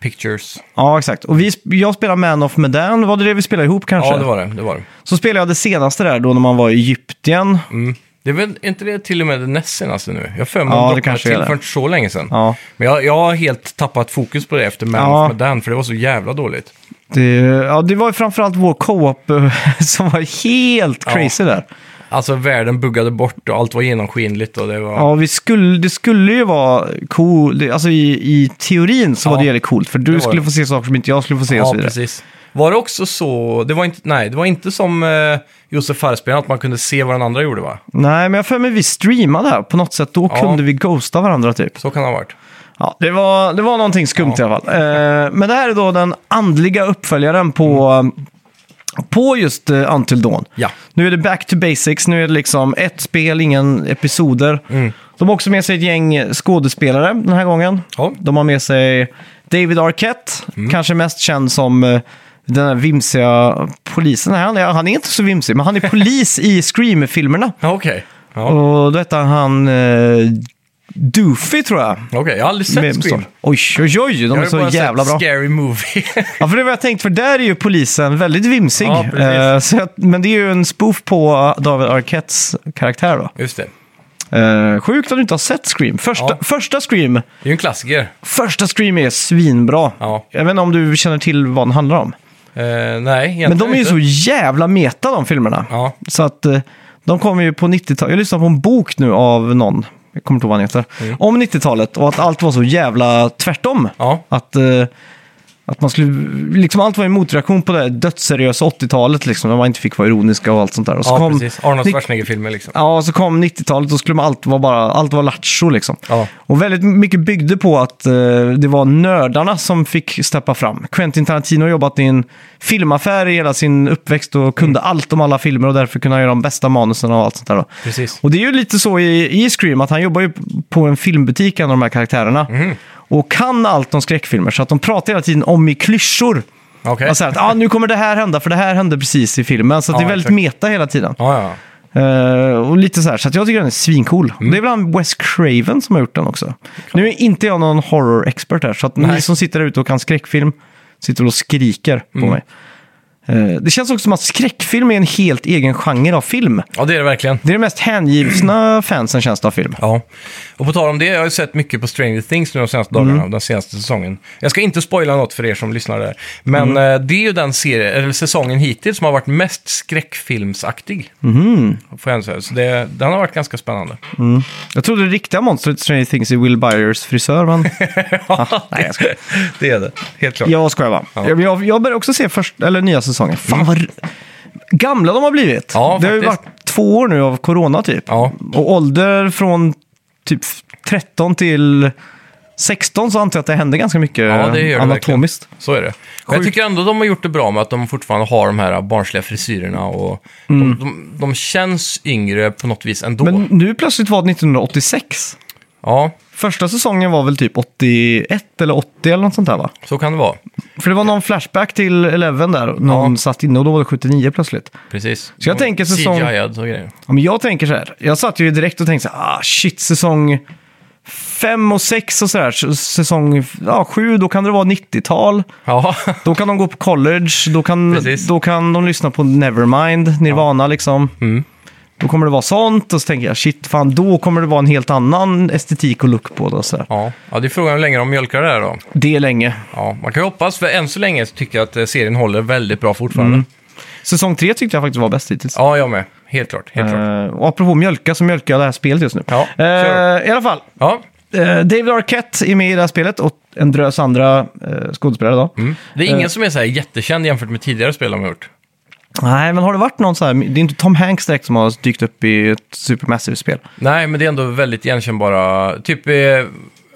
[SPEAKER 2] Pictures.
[SPEAKER 1] Ja, exakt. Och vi, sp- jag spelade Man of Medan, var det det vi spelade ihop kanske?
[SPEAKER 2] Ja, det var det. det, var det.
[SPEAKER 1] Så spelade jag det senaste där då när man var i Egypten.
[SPEAKER 2] Mm. Det är väl inte det till och med det näst senaste nu? Jag har för mig
[SPEAKER 1] Ja, det
[SPEAKER 2] att det
[SPEAKER 1] kanske är
[SPEAKER 2] till
[SPEAKER 1] det.
[SPEAKER 2] för inte så länge sedan.
[SPEAKER 1] Ja,
[SPEAKER 2] Men jag, jag har helt tappat fokus på det efter Man
[SPEAKER 1] Ja.
[SPEAKER 2] of Medan, för det var så jävla dåligt.
[SPEAKER 1] det, ja, det var ju framförallt vår co-op eh, som var helt
[SPEAKER 2] Ja.
[SPEAKER 1] crazy där.
[SPEAKER 2] Alltså världen buggade bort och allt var genomskinligt och det var...
[SPEAKER 1] Ja, vi skulle, det skulle ju vara cool, det- alltså i, i teorin så
[SPEAKER 2] Ja.
[SPEAKER 1] var det jävligt coolt, för
[SPEAKER 2] var
[SPEAKER 1] du
[SPEAKER 2] det.
[SPEAKER 1] skulle få se saker som inte jag skulle få se och
[SPEAKER 2] Ja,
[SPEAKER 1] så vidare.
[SPEAKER 2] precis. Var det också så, det var inte, nej, det var inte som eh, Josef Fares-spelaren, att man kunde se vad den andra gjorde va?
[SPEAKER 1] Nej, men jag har för mig vi streamade här på något sätt, då
[SPEAKER 2] Ja.
[SPEAKER 1] kunde vi ghosta varandra typ.
[SPEAKER 2] Så kan det ha varit.
[SPEAKER 1] Ja, det var, det var någonting skumt i alla fall. Eh, men det här är då den andliga uppföljaren på, på just eh, Until Dawn.
[SPEAKER 2] Ja.
[SPEAKER 1] Nu är det back to basics, nu är det liksom ett spel, ingen episoder.
[SPEAKER 2] Mm.
[SPEAKER 1] De har också med sig ett gäng skådespelare den här gången.
[SPEAKER 2] Ja.
[SPEAKER 1] De har med sig David Arquette,
[SPEAKER 2] Mm.
[SPEAKER 1] kanske mest känd som eh, den här vimsiga polisen. Nej, Han är, han är inte så vimsig, men han är polis i Scream-filmerna.
[SPEAKER 2] Ja, Okej. Ja.
[SPEAKER 1] Och då hette han eh, Doofy, tror jag.
[SPEAKER 2] Okej, jag har aldrig sett
[SPEAKER 1] Med-
[SPEAKER 2] Scream.
[SPEAKER 1] Oj, oj, oj, de
[SPEAKER 2] Jag
[SPEAKER 1] är
[SPEAKER 2] har
[SPEAKER 1] så
[SPEAKER 2] bara
[SPEAKER 1] jävla
[SPEAKER 2] sett
[SPEAKER 1] bra.
[SPEAKER 2] Scary Movie.
[SPEAKER 1] Ja, för det var jag tänkt, för där är ju polisen väldigt vimsig.
[SPEAKER 2] Ja, precis.
[SPEAKER 1] Eh, så jag, men det är ju en spoof på eh, David Arquettes karaktär då.
[SPEAKER 2] Just det.
[SPEAKER 1] Eh, sjukt att du inte har sett Scream. Första,
[SPEAKER 2] Ja.
[SPEAKER 1] första Scream
[SPEAKER 2] Det är ju en klassiker.
[SPEAKER 1] första Scream är svinbra.
[SPEAKER 2] Ja.
[SPEAKER 1] Jag vet inte om du känner till vad den handlar om.
[SPEAKER 2] Eh, nej, egentligen
[SPEAKER 1] Men de är ju
[SPEAKER 2] inte.
[SPEAKER 1] så jävla meta de filmerna.
[SPEAKER 2] Ja.
[SPEAKER 1] Så att eh, de kommer ju på 90-talet. Jag lyssnar på en bok nu av någon, jag kommer inte ihåg vad han heter, om 90-talet och att allt var så jävla tvärtom.
[SPEAKER 2] Mm. Ja.
[SPEAKER 1] Att, eh, att man skulle, liksom allt var en motreaktion på det här dödsseriösa 80-talet liksom, när man inte fick vara ironiska och allt sånt där. Och så
[SPEAKER 2] Ja,
[SPEAKER 1] kom,
[SPEAKER 2] precis. Arnold
[SPEAKER 1] Ni-
[SPEAKER 2] Schwarzenegger-filmer liksom.
[SPEAKER 1] Ja, och så kom 90-talet och skulle man allt vara bara, allt var lattjo liksom.
[SPEAKER 2] Ja.
[SPEAKER 1] Och väldigt mycket byggde på att eh, det var nördarna som fick steppa fram. Quentin Tarantino har jobbat i en filmaffär i hela sin uppväxt och kunde
[SPEAKER 2] Mm.
[SPEAKER 1] allt om alla filmer och därför kunde han göra de bästa manusen och allt sånt där. Då.
[SPEAKER 2] Precis.
[SPEAKER 1] Och det är ju lite så i, i Scream att han jobbar ju på en filmbutik, en av de här karaktärerna.
[SPEAKER 2] Mm.
[SPEAKER 1] Och kan allt om skräckfilmer, så att de pratar hela tiden om i klyschor.
[SPEAKER 2] Okej.
[SPEAKER 1] Alltså att ah, nu kommer det här hända, för det här hände precis i filmen. Så att det
[SPEAKER 2] Ja,
[SPEAKER 1] är väldigt
[SPEAKER 2] exakt.
[SPEAKER 1] meta hela tiden.
[SPEAKER 2] Ja, ja.
[SPEAKER 1] Eh, och lite så här, så att jag tycker den är svincool.
[SPEAKER 2] Mm.
[SPEAKER 1] Det är väl han Wes Craven som har gjort den också. Nu är inte jag någon horror-expert här, så att ni
[SPEAKER 2] Nej.
[SPEAKER 1] som sitter där ute och kan skräckfilm sitter och skriker
[SPEAKER 2] Mm.
[SPEAKER 1] på mig. Eh, det känns också som att skräckfilm är en helt egen genre av film.
[SPEAKER 2] ja, det är det verkligen.
[SPEAKER 1] Det är det mest hängivna fansen känns det av film.
[SPEAKER 2] Ja, och på tal om det, jag har ju sett mycket på Stranger Things nu de senaste dagarna,
[SPEAKER 1] Mm.
[SPEAKER 2] den senaste säsongen. Jag ska inte spoila något för er som lyssnar där, men
[SPEAKER 1] Mm.
[SPEAKER 2] eh, det är ju den serie, eller säsongen hittills som har varit mest skräckfilmsaktig.
[SPEAKER 1] Mm.
[SPEAKER 2] Får jag ändå säga. Så det, den har varit ganska spännande.
[SPEAKER 1] Jag trodde det riktiga monstret i Stranger Things är Will Byers frisör, men
[SPEAKER 2] Ja,
[SPEAKER 1] nej, jag skojar.
[SPEAKER 2] det är det, helt klart.
[SPEAKER 1] jag skojar bara. Jag, jag, jag började också se först, eller nya säsongen. Fan vad r- gamla de har blivit.
[SPEAKER 2] Ja,
[SPEAKER 1] det har ju
[SPEAKER 2] faktiskt.
[SPEAKER 1] varit två år nu av corona typ.
[SPEAKER 2] Ja.
[SPEAKER 1] Och ålder från typ 13 till 16 så antar jag att det händer ganska mycket
[SPEAKER 2] Ja, det gör det
[SPEAKER 1] anatomiskt.
[SPEAKER 2] verkligen. Så är det. Men jag
[SPEAKER 1] Sjukt.
[SPEAKER 2] tycker ändå de har gjort det bra med att de fortfarande har de här barnsliga frisyrerna och de, de, de känns yngre på något vis ändå.
[SPEAKER 1] Mm. Men nu plötsligt var det 1986.
[SPEAKER 2] Ja,
[SPEAKER 1] Första säsongen var väl typ 81 eller 80 eller något sånt där va?
[SPEAKER 2] så kan det vara.
[SPEAKER 1] För det var någon flashback till Eleven där. Någon
[SPEAKER 2] Ja.
[SPEAKER 1] satt inne och då var det 79 plötsligt.
[SPEAKER 2] Precis.
[SPEAKER 1] Så jag tänker säsong-
[SPEAKER 2] CGI-ad och grejer.
[SPEAKER 1] Ja, men jag tänker så här. Jag satt ju direkt och tänkte så här, ah shit, säsong 5 och 6 och så här. s- Säsong 7, då kan det vara 90-tal.
[SPEAKER 2] Ja,
[SPEAKER 1] Då kan de gå på college, då kan,
[SPEAKER 2] Precis.
[SPEAKER 1] då kan de lyssna på Nevermind, Nirvana liksom.
[SPEAKER 2] Mm.
[SPEAKER 1] Då kommer det vara sånt och så tänker jag shit, fan då kommer det vara en helt annan estetik och look på det. och Så här.
[SPEAKER 2] Ja, ja det är frågan hur länge de mjölkar det här då.
[SPEAKER 1] Det är länge.
[SPEAKER 2] Ja, man kan ju hoppas, för än så länge så tycker jag att eh, serien håller väldigt bra fortfarande.
[SPEAKER 1] Mm. Säsong 3 tyckte jag faktiskt var bäst hittills.
[SPEAKER 2] Ja, jag med. Helt klart. Helt klart.
[SPEAKER 1] Eh, och apropå mjölka så mjölkar jag det här spelet just nu.
[SPEAKER 2] Ja,
[SPEAKER 1] Eh,
[SPEAKER 2] kör.
[SPEAKER 1] I alla fall,
[SPEAKER 2] Ja,
[SPEAKER 1] Eh, David Arquette är med i det här spelet och en drös andra eh, skådespelare. Då.
[SPEAKER 2] Mm. det är
[SPEAKER 1] Eh.
[SPEAKER 2] ingen som är så här jättekänd jämfört med tidigare spel de har gjort.
[SPEAKER 1] Nej, men har det varit någon så här, det är inte Tom Hanks direkt som har dykt upp i ett Supermassive-spel.
[SPEAKER 2] Nej, men det är ändå väldigt igenkännbara. Typ eh,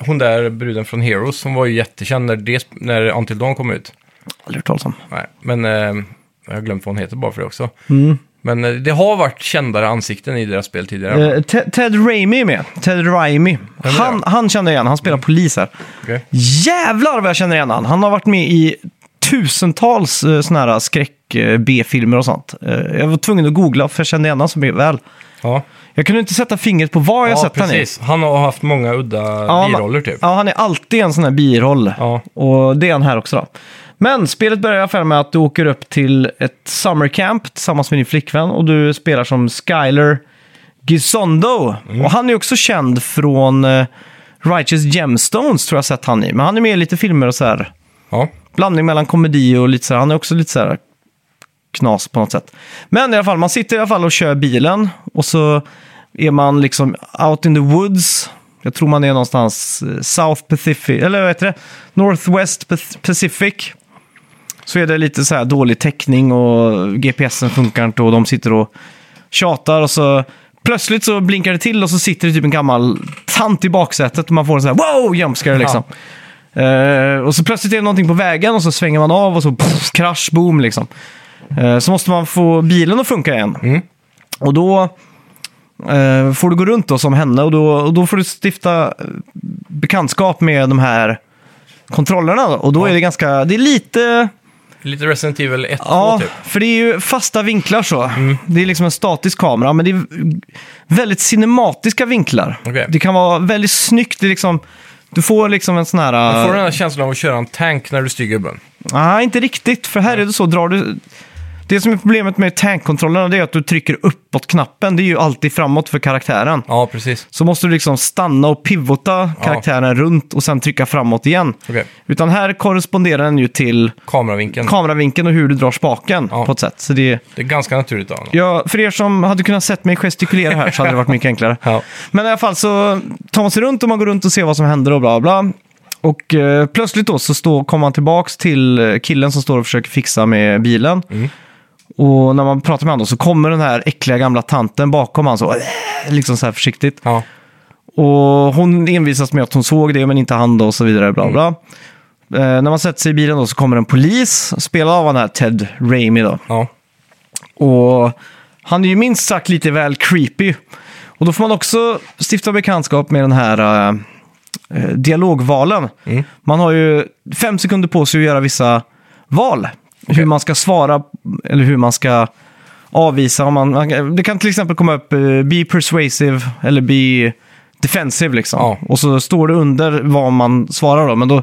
[SPEAKER 2] hon där bruden från Heroes, som var ju jättekänd när, det, sp- när Until Dawn kom ut.
[SPEAKER 1] Aldrig hört talas om.
[SPEAKER 2] Nej, men eh, jag har glömt vad hon heter bara för det också.
[SPEAKER 1] Mm.
[SPEAKER 2] Men eh, det har varit kändare ansikten i deras spel tidigare.
[SPEAKER 1] Eh, Te- Ted Raimi är med. Ted Raimi.
[SPEAKER 2] är det? Mm.
[SPEAKER 1] Han, han känner jag igen, han spelar polis här.
[SPEAKER 2] Okej.
[SPEAKER 1] Jävlar vad jag känner igen han! Han har varit med i tusentals eh, såna här Eh, skräck-B-filmer och sånt. Eh, jag var tvungen att googla för jag kände igen honom så väl.
[SPEAKER 2] Ja.
[SPEAKER 1] Jag kunde inte sätta fingret på var jag
[SPEAKER 2] Ja,
[SPEAKER 1] sett
[SPEAKER 2] precis. Han har haft många udda
[SPEAKER 1] han är.
[SPEAKER 2] biroller typ.
[SPEAKER 1] Ja, han är alltid en sån här biroll.
[SPEAKER 2] Ja.
[SPEAKER 1] Och det är han här också då. Men spelet börjar i alla fall med att du åker upp till ett summercamp tillsammans med din flickvän och du spelar som Skyler Gisondo. Och han är också känd från eh, Righteous Gemstones tror jag sett han i. Men han är med i lite filmer och så här.
[SPEAKER 2] Ja.
[SPEAKER 1] Blandning mellan komedi och lite så här. Han är också lite så här knas på något sätt. Men i alla fall, man sitter i alla fall och kör bilen och så är man liksom out in the woods. Jag tror man är någonstans eh, South Pacific, eller vad heter det? Northwest Pac- Pacific. Så är det lite så här dålig täckning och GPSen funkar inte och de sitter och tjatar och så plötsligt så blinkar det till och så sitter det typ en gammal tant i baksätet och man får en så här wow jumpscare liksom. Eh, och så plötsligt är det någonting på vägen och så svänger man av och så pff, krasch, boom liksom. Eh, så måste man få bilen att funka igen.
[SPEAKER 2] Mm.
[SPEAKER 1] Och då eh, får du gå runt då som henne och då, och då får du stifta eh, bekantskap med de här kontrollerna. då. Och då är det ganska, det är lite...
[SPEAKER 2] Lite Resident Evil 1
[SPEAKER 1] Ja,
[SPEAKER 2] typ. Mm.
[SPEAKER 1] för det är ju fasta vinklar så. Det är liksom en statisk kamera, men det är väldigt cinematiska vinklar.
[SPEAKER 2] Okej.
[SPEAKER 1] Det kan vara väldigt snyggt. Det är liksom, du får liksom en sån här...
[SPEAKER 2] Du får den här känslan av att köra en tank när du styr gubben.
[SPEAKER 1] Nej, inte riktigt. För här är det så, drar du... Det som är problemet med tankkontrollerna det är att du trycker uppåt knappen. Det är ju alltid framåt för karaktären.
[SPEAKER 2] Ja, precis.
[SPEAKER 1] Så måste du liksom stanna och pivota karaktären runt och sen trycka framåt igen.
[SPEAKER 2] Okej.
[SPEAKER 1] Utan här korresponderar den ju till
[SPEAKER 2] Kameravinkeln.
[SPEAKER 1] kameravinkeln och hur du drar spaken
[SPEAKER 2] Ja.
[SPEAKER 1] på ett sätt. Så det är...
[SPEAKER 2] det är ganska naturligt av honom.
[SPEAKER 1] Ja, för er som hade kunnat sett mig gestikulera här så hade det varit mycket enklare.
[SPEAKER 2] Ja.
[SPEAKER 1] Men i alla fall så tar man sig runt och man går runt och ser vad som händer och bla bla. Och eh, plötsligt då så står, kommer man tillbaks till eh, killen som står och försöker fixa med bilen. Och när man pratar med honom så kommer den här äckliga gamla tanten bakom han så, "Åh!" liksom så här försiktigt.
[SPEAKER 2] Ja.
[SPEAKER 1] Och hon envisas med att hon såg det men inte han då och så vidare. Bla, bla. Eh, när man sätter sig i bilen då så kommer en polis, spelad av den här Ted Raimi då.
[SPEAKER 2] ja.
[SPEAKER 1] Och han är ju minst sagt lite väl creepy. Och då får man också stifta bekantskap med den här eh, eh, dialogvalen.
[SPEAKER 2] Mm.
[SPEAKER 1] Man har ju fem sekunder på sig att göra vissa val. Hur man ska svara eller hur man ska avvisa. Om man, man, det kan till exempel komma upp eh, “be persuasive” eller “be defensive” liksom.
[SPEAKER 2] Ja.
[SPEAKER 1] Och så står det under vad man svarar då. Men då,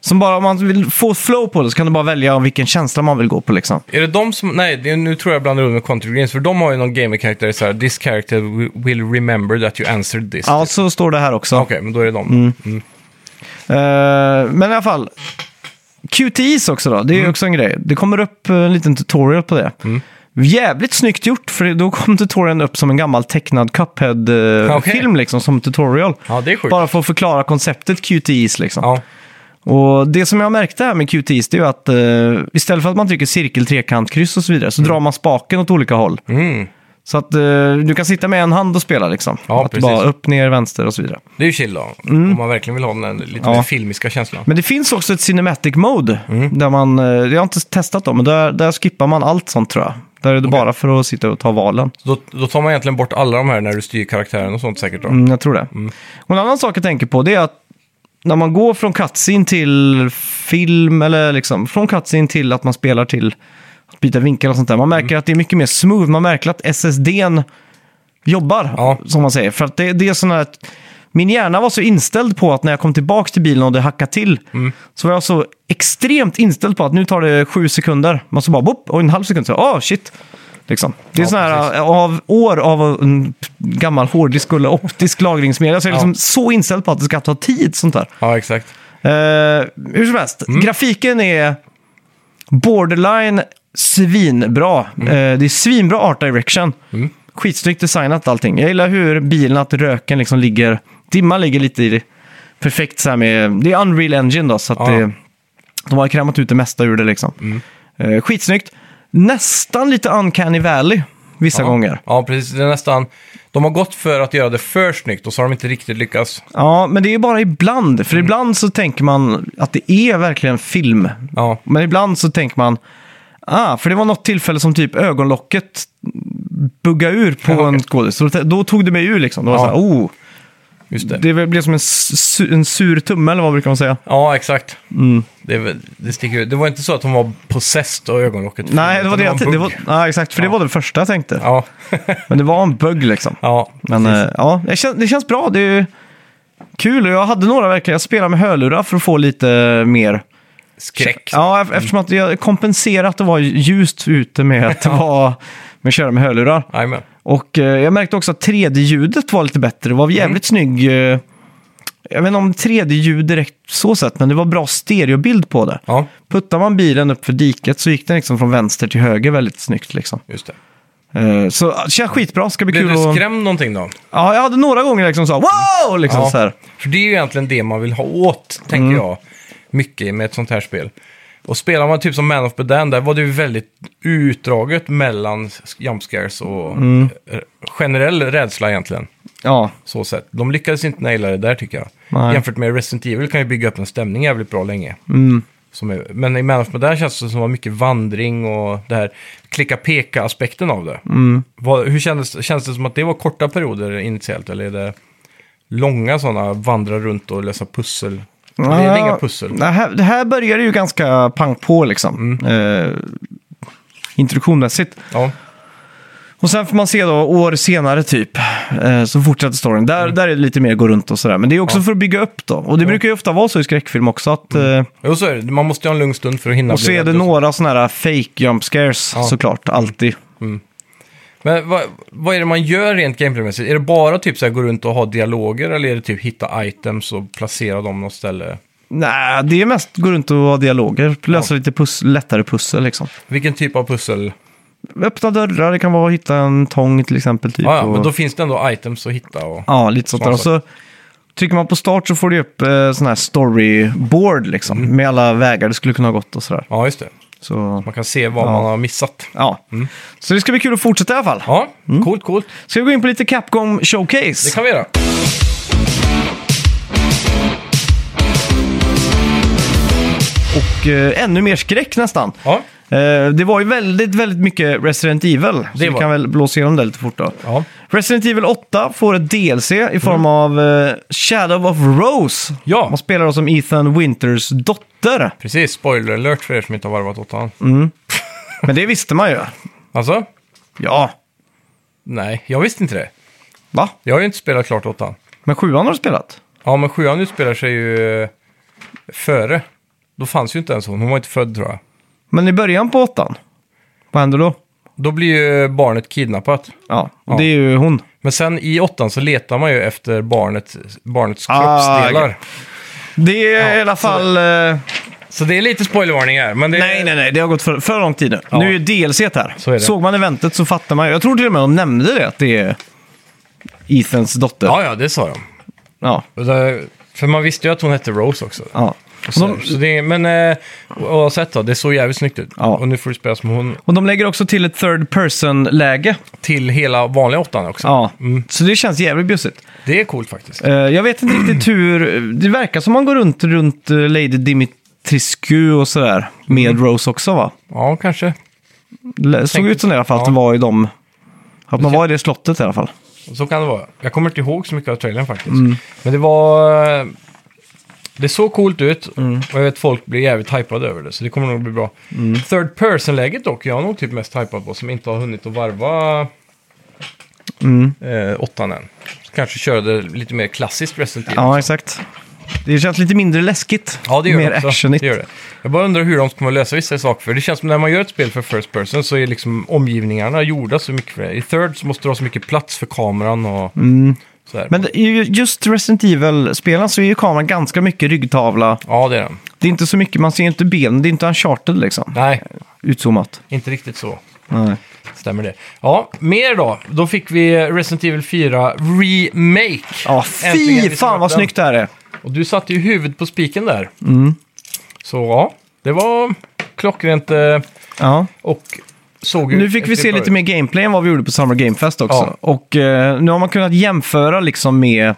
[SPEAKER 1] som bara om man vill få flow på det så kan du bara välja vilken känsla man vill gå på liksom.
[SPEAKER 2] Är det de som... Nej, det, nu tror jag blandar ihop med Country Greens, för de har ju någon gamer-karaktär så här, “This character wi- will remember that you answered this”.
[SPEAKER 1] Ja, så står det här också.
[SPEAKER 2] Okej, men då är det de. Mm.
[SPEAKER 1] Eh, men i alla fall. QTEs också då, det är
[SPEAKER 2] Mm.
[SPEAKER 1] ju också en grej. Det kommer upp eh, en liten tutorial på det. Jävligt snyggt gjort, för då kom tutorialen upp som en gammal tecknad Cuphead-film
[SPEAKER 2] Okej.
[SPEAKER 1] liksom, som tutorial.
[SPEAKER 2] Ja, det är sjukt.
[SPEAKER 1] Bara för att förklara konceptet QTEs liksom.
[SPEAKER 2] Ja.
[SPEAKER 1] Och det som jag märkte här med QTEs, det är ju att eh, istället för att man trycker cirkel, trekant, kryss och så vidare, så drar man spaken åt olika håll.
[SPEAKER 2] Mm.
[SPEAKER 1] Så att eh, du kan sitta med en hand och spela liksom.
[SPEAKER 2] Ja,
[SPEAKER 1] att det
[SPEAKER 2] precis.
[SPEAKER 1] bara upp, ner, vänster och så vidare.
[SPEAKER 2] Det är ju chill då, om man verkligen vill ha den där lite
[SPEAKER 1] Mm. Ja.
[SPEAKER 2] mer filmiska känslan.
[SPEAKER 1] Men det finns också ett cinematic mode. Där man, eh, jag har inte testat dem, men där, där skippar man allt sånt tror jag. Där är det bara för att sitta och ta valen.
[SPEAKER 2] Så Då, då tar man egentligen bort alla de här när du styr karaktären och sånt säkert då.
[SPEAKER 1] Mm, jag tror det. Och en annan sak jag tänker på det är att när man går från cutscene till film, eller liksom från cutscene till att man spelar till att byta vinkel och sånt där. Man
[SPEAKER 2] Mm.
[SPEAKER 1] märker att det är mycket mer smooth. Man märker att SSDn jobbar,
[SPEAKER 2] Ja.
[SPEAKER 1] som man säger. För att det, det är sån här... att Min hjärna var så inställd på att när jag kom tillbaka till bilen och det hackade till
[SPEAKER 2] Mm.
[SPEAKER 1] så var jag så extremt inställd på att nu tar det sju sekunder. Man så bara bopp, och en halv sekund så, åh shit. Liksom. Det är
[SPEAKER 2] Ja,
[SPEAKER 1] sån här eh, av år av en gammal hårddisk eller optisk lagringsmedia. Så jag är
[SPEAKER 2] Ja.
[SPEAKER 1] liksom så inställd på att det ska ta tid sånt där.
[SPEAKER 2] Ja, exakt.
[SPEAKER 1] Eh, hur som helst,
[SPEAKER 2] Mm.
[SPEAKER 1] grafiken är borderline svinbra.
[SPEAKER 2] Mm.
[SPEAKER 1] Eh, det är svinbra art direction. Skitsnyggt designat allting. Jag gillar hur bilen, att röken liksom ligger, dimman ligger lite i det. Perfekt så här med, det är Unreal Engine då, så att
[SPEAKER 2] Ja. Mm.
[SPEAKER 1] det, de har krämat ut det mesta ur det liksom. Eh, skitsnyggt. Nästan lite Uncanny Valley vissa gånger.
[SPEAKER 2] Ja, precis. Det är nästan... De har gått för att göra det för snyggt och så har de inte riktigt lyckats.
[SPEAKER 1] Ja, men det är bara ibland.
[SPEAKER 2] Mm.
[SPEAKER 1] För ibland så tänker man att det är verkligen film.
[SPEAKER 2] Ja,
[SPEAKER 1] Men ibland så tänker man, ah, för det var något tillfälle som typ ögonlocket buggade ur på
[SPEAKER 2] Ja, okej.
[SPEAKER 1] en skådis. Så Då tog det mig ur liksom. Då var
[SPEAKER 2] Ja.
[SPEAKER 1] det så här, oh,
[SPEAKER 2] Just det.
[SPEAKER 1] Det blev som en, su- en sur tumme, eller vad brukar man säga?
[SPEAKER 2] Ja, exakt.
[SPEAKER 1] Mm.
[SPEAKER 2] Det, är väl- det, sticker, ut. det var inte så att hon var possessed av ögonlocket.
[SPEAKER 1] Nej, det var
[SPEAKER 2] Utan
[SPEAKER 1] det jag
[SPEAKER 2] en
[SPEAKER 1] tänkte. Det
[SPEAKER 2] bugg.
[SPEAKER 1] var, ja, exakt. För det var det första jag tänkte.
[SPEAKER 2] Ja,
[SPEAKER 1] Men det var en bugg liksom.
[SPEAKER 2] ja.
[SPEAKER 1] Men
[SPEAKER 2] precis.
[SPEAKER 1] eh, ja, det, kän, det känns bra. Det är ju kul. Och jag hade några verkligen. Jag spelade med hörlurar för att få lite mer.
[SPEAKER 2] Skräck.
[SPEAKER 1] Ja, e- eftersom att jag kompenserade att det var ljust ute med att det var med att köra med hörlurar.
[SPEAKER 2] Jajamän.
[SPEAKER 1] Och eh, jag märkte också att 3D-ljudet var lite bättre. Det var
[SPEAKER 2] Mm.
[SPEAKER 1] jävligt snygg... Eh, jag vet inte om 3D-ljud direkt så sett, men det var bra stereobild på det.
[SPEAKER 2] Ja,
[SPEAKER 1] Puttar man bilen upp för diket så gick den liksom från vänster till höger väldigt snyggt. Liksom.
[SPEAKER 2] just det.
[SPEAKER 1] Eh, så ja, det känns skitbra, ska bli
[SPEAKER 2] Blev
[SPEAKER 1] kul
[SPEAKER 2] du
[SPEAKER 1] att...
[SPEAKER 2] skrämd någonting då?
[SPEAKER 1] Ja, jag hade några gånger liksom så här, wow! Liksom
[SPEAKER 2] Ja,
[SPEAKER 1] så här. Mm.
[SPEAKER 2] För det är ju egentligen det man vill ha åt, tänker jag, mycket med ett sånt här spel. Och spelar man typ som Man of Medan, där var det ju väldigt utdraget mellan jump scares och
[SPEAKER 1] Mm.
[SPEAKER 2] eh, generell rädsla egentligen.
[SPEAKER 1] Ja,
[SPEAKER 2] Så sett. De lyckades inte naila det där tycker jag.
[SPEAKER 1] Nej.
[SPEAKER 2] Jämfört med Resident Evil kan ju bygga upp en stämning jävligt bra länge.
[SPEAKER 1] Mm.
[SPEAKER 2] Som är, men i Man of Medan känns det som att det var mycket vandring och det här klicka-peka-aspekten av det.
[SPEAKER 1] Mm.
[SPEAKER 2] Vad, hur kändes, känns det som att det var korta perioder initiellt eller är det långa sådana vandra runt och lösa pussel? Det är inga pussel. Mm.
[SPEAKER 1] Det här, det här började ju ganska pang på liksom. Eh, introduktionsmässigt.
[SPEAKER 2] Ja,
[SPEAKER 1] Och sen får man se då år senare typ, eh, så fortsätter storyn. Där,
[SPEAKER 2] Mm.
[SPEAKER 1] där är det lite mer gå runt och sådär. Men det är också för att bygga upp då. Och det brukar ju ofta vara så i skräckfilm också att...
[SPEAKER 2] Mm.
[SPEAKER 1] Eh,
[SPEAKER 2] jo så är det. Man måste ju ha en lugn stund för att hinna
[SPEAKER 1] och så
[SPEAKER 2] bli
[SPEAKER 1] är
[SPEAKER 2] rädd
[SPEAKER 1] det
[SPEAKER 2] och så.
[SPEAKER 1] några sådana här fake jump scares
[SPEAKER 2] Ja.
[SPEAKER 1] såklart, alltid.
[SPEAKER 2] Men vad, vad är det man gör rent gameplaymässigt? Är det bara typ så här gå runt och ha dialoger eller är det typ hitta items och placera dem något ställe?
[SPEAKER 1] Nej, det är mest gå runt och ha dialoger, lösa lite pus- lättare pussel liksom.
[SPEAKER 2] Vilken typ av pussel?
[SPEAKER 1] Öppna dörrar, det kan vara att hitta en tång till exempel. Typ,
[SPEAKER 2] Ja, ja,
[SPEAKER 1] och-
[SPEAKER 2] men då finns det ändå items att hitta. Och...
[SPEAKER 1] Ja, lite sånt där. Och
[SPEAKER 2] Smaksak.
[SPEAKER 1] så trycker man på start så får du upp eh, sån här storyboard liksom.
[SPEAKER 2] Mm.
[SPEAKER 1] Med alla vägar det skulle kunna ha gått och sådär.
[SPEAKER 2] Ja, just det.
[SPEAKER 1] Så,
[SPEAKER 2] Man kan se vad
[SPEAKER 1] Ja.
[SPEAKER 2] man har missat.
[SPEAKER 1] ja. så det ska bli kul att fortsätta i alla fall.
[SPEAKER 2] Mm. Ja, coolt, coolt.
[SPEAKER 1] Ska vi gå in på lite Capcom Showcase?
[SPEAKER 2] Det kan vi göra.
[SPEAKER 1] Och eh, ännu mer skräck nästan.
[SPEAKER 2] Ja,
[SPEAKER 1] Eh, det var ju väldigt, väldigt mycket Resident Evil. Så
[SPEAKER 2] Det
[SPEAKER 1] vi
[SPEAKER 2] var
[SPEAKER 1] kan
[SPEAKER 2] det.
[SPEAKER 1] väl blåsa igenom det lite fort då.
[SPEAKER 2] ja. Mm.
[SPEAKER 1] Resident Evil 8 får ett DLC i form av eh, Shadow of Rose.
[SPEAKER 2] Ja.
[SPEAKER 1] Man spelar då som Ethan Winters dotter.
[SPEAKER 2] precis. Spoiler alert för er som inte har varvat åttan.
[SPEAKER 1] Mm. Men det visste man ju.
[SPEAKER 2] Alltså?
[SPEAKER 1] Ja,
[SPEAKER 2] Nej, jag visste inte det.
[SPEAKER 1] va?
[SPEAKER 2] Jag har ju inte spelat klart åttan.
[SPEAKER 1] Men sjuan har du spelat?
[SPEAKER 2] Ja, men sjuan utspelar sig ju eh, före. Då fanns ju inte ens hon. Hon var inte född tror jag.
[SPEAKER 1] Men i början på åttan, vad händer då?
[SPEAKER 2] Då blir ju barnet kidnappat.
[SPEAKER 1] Ja, och
[SPEAKER 2] Ja.
[SPEAKER 1] det är ju hon.
[SPEAKER 2] Men sen i åttan så letar man ju efter barnet, barnets kroppsdelar.
[SPEAKER 1] Ah, okej. Det är
[SPEAKER 2] Ja,
[SPEAKER 1] i alla
[SPEAKER 2] så
[SPEAKER 1] fall... eh,
[SPEAKER 2] Så det är lite spoilervarning här. Men det...
[SPEAKER 1] Nej, nej, nej. Det har gått för, för lång tid nu.
[SPEAKER 2] Ja.
[SPEAKER 1] Nu är ju DLC t här.
[SPEAKER 2] Så är det.
[SPEAKER 1] Såg man eventet så fattar man ju. Jag tror till och med de nämnde det, att det är Ethans dotter.
[SPEAKER 2] Ja, ja, det sa de.
[SPEAKER 1] ja.
[SPEAKER 2] Och det- För man visste ju att hon hette Rose också.
[SPEAKER 1] ja. Mm.
[SPEAKER 2] Och Så, så det, men eh, oavsett då, det såg jävligt snyggt ut.
[SPEAKER 1] Ja.
[SPEAKER 2] Och nu får du spela som hon
[SPEAKER 1] Och de lägger också till ett third person-läge.
[SPEAKER 2] till hela vanliga åttan också.
[SPEAKER 1] Ja.
[SPEAKER 2] Mm.
[SPEAKER 1] Så det känns jävligt bjussigt.
[SPEAKER 2] Det är coolt faktiskt.
[SPEAKER 1] Eh, jag vet inte riktigt hur... Det verkar som man går runt runt eh, Lady Dimitrescu och sådär. Med
[SPEAKER 2] Mm.
[SPEAKER 1] Rose också, va?
[SPEAKER 2] Ja, kanske.
[SPEAKER 1] Det såg
[SPEAKER 2] Tänkte-
[SPEAKER 1] ut som i alla fall att
[SPEAKER 2] ja.
[SPEAKER 1] det var i dem. Att man var i det slottet i alla fall.
[SPEAKER 2] Så kan det vara. Jag kommer inte ihåg så mycket av trailern faktiskt.
[SPEAKER 1] Mm.
[SPEAKER 2] Men det var... eh, Det såg coolt ut
[SPEAKER 1] Mm.
[SPEAKER 2] och jag vet folk blir jävligt hypade över det, så det kommer nog bli bra.
[SPEAKER 1] Mm.
[SPEAKER 2] Third person-läget dock, jag är nog typ mest hypad på, som inte har hunnit att varva
[SPEAKER 1] Mm.
[SPEAKER 2] eh, åttan än. Så kanske körde lite mer klassiskt Resident Evil.
[SPEAKER 1] Ja, exakt. Det känns lite mindre läskigt.
[SPEAKER 2] Ja, det gör
[SPEAKER 1] Mer
[SPEAKER 2] det också.
[SPEAKER 1] actionigt.
[SPEAKER 2] Det gör det. Jag bara undrar hur de kommer lösa vissa saker. För det känns som när man gör ett spel för first person så är liksom omgivningarna gjorda så mycket för det. I third så måste du ha så mycket plats för kameran och sådär.
[SPEAKER 1] Mm. Men det är ju- just Resident Evil-spelen så är ju kameran ganska mycket ryggtavla.
[SPEAKER 2] Ja, det är den.
[SPEAKER 1] Det är inte så mycket, man ser inte ben, det är inte uncharted liksom.
[SPEAKER 2] Nej,
[SPEAKER 1] Utzoomat.
[SPEAKER 2] inte riktigt så.
[SPEAKER 1] Nej.
[SPEAKER 2] Stämmer det. Ja, mer då. Då fick vi Resident Evil 4 Remake.
[SPEAKER 1] Ja,
[SPEAKER 2] Äntligen
[SPEAKER 1] fy
[SPEAKER 2] har vi smakat
[SPEAKER 1] fan vad
[SPEAKER 2] den.
[SPEAKER 1] snyggt det här är.
[SPEAKER 2] Och du satte ju huvudet på spiken där.
[SPEAKER 1] Mm.
[SPEAKER 2] Så ja, det var klockrent eh,
[SPEAKER 1] Ja.
[SPEAKER 2] och såg ju
[SPEAKER 1] Nu fick vi se
[SPEAKER 2] bra ut.
[SPEAKER 1] lite mer gameplay än vad vi gjorde på Summer Game Fest också.
[SPEAKER 2] Ja.
[SPEAKER 1] Och eh, nu har man kunnat jämföra liksom med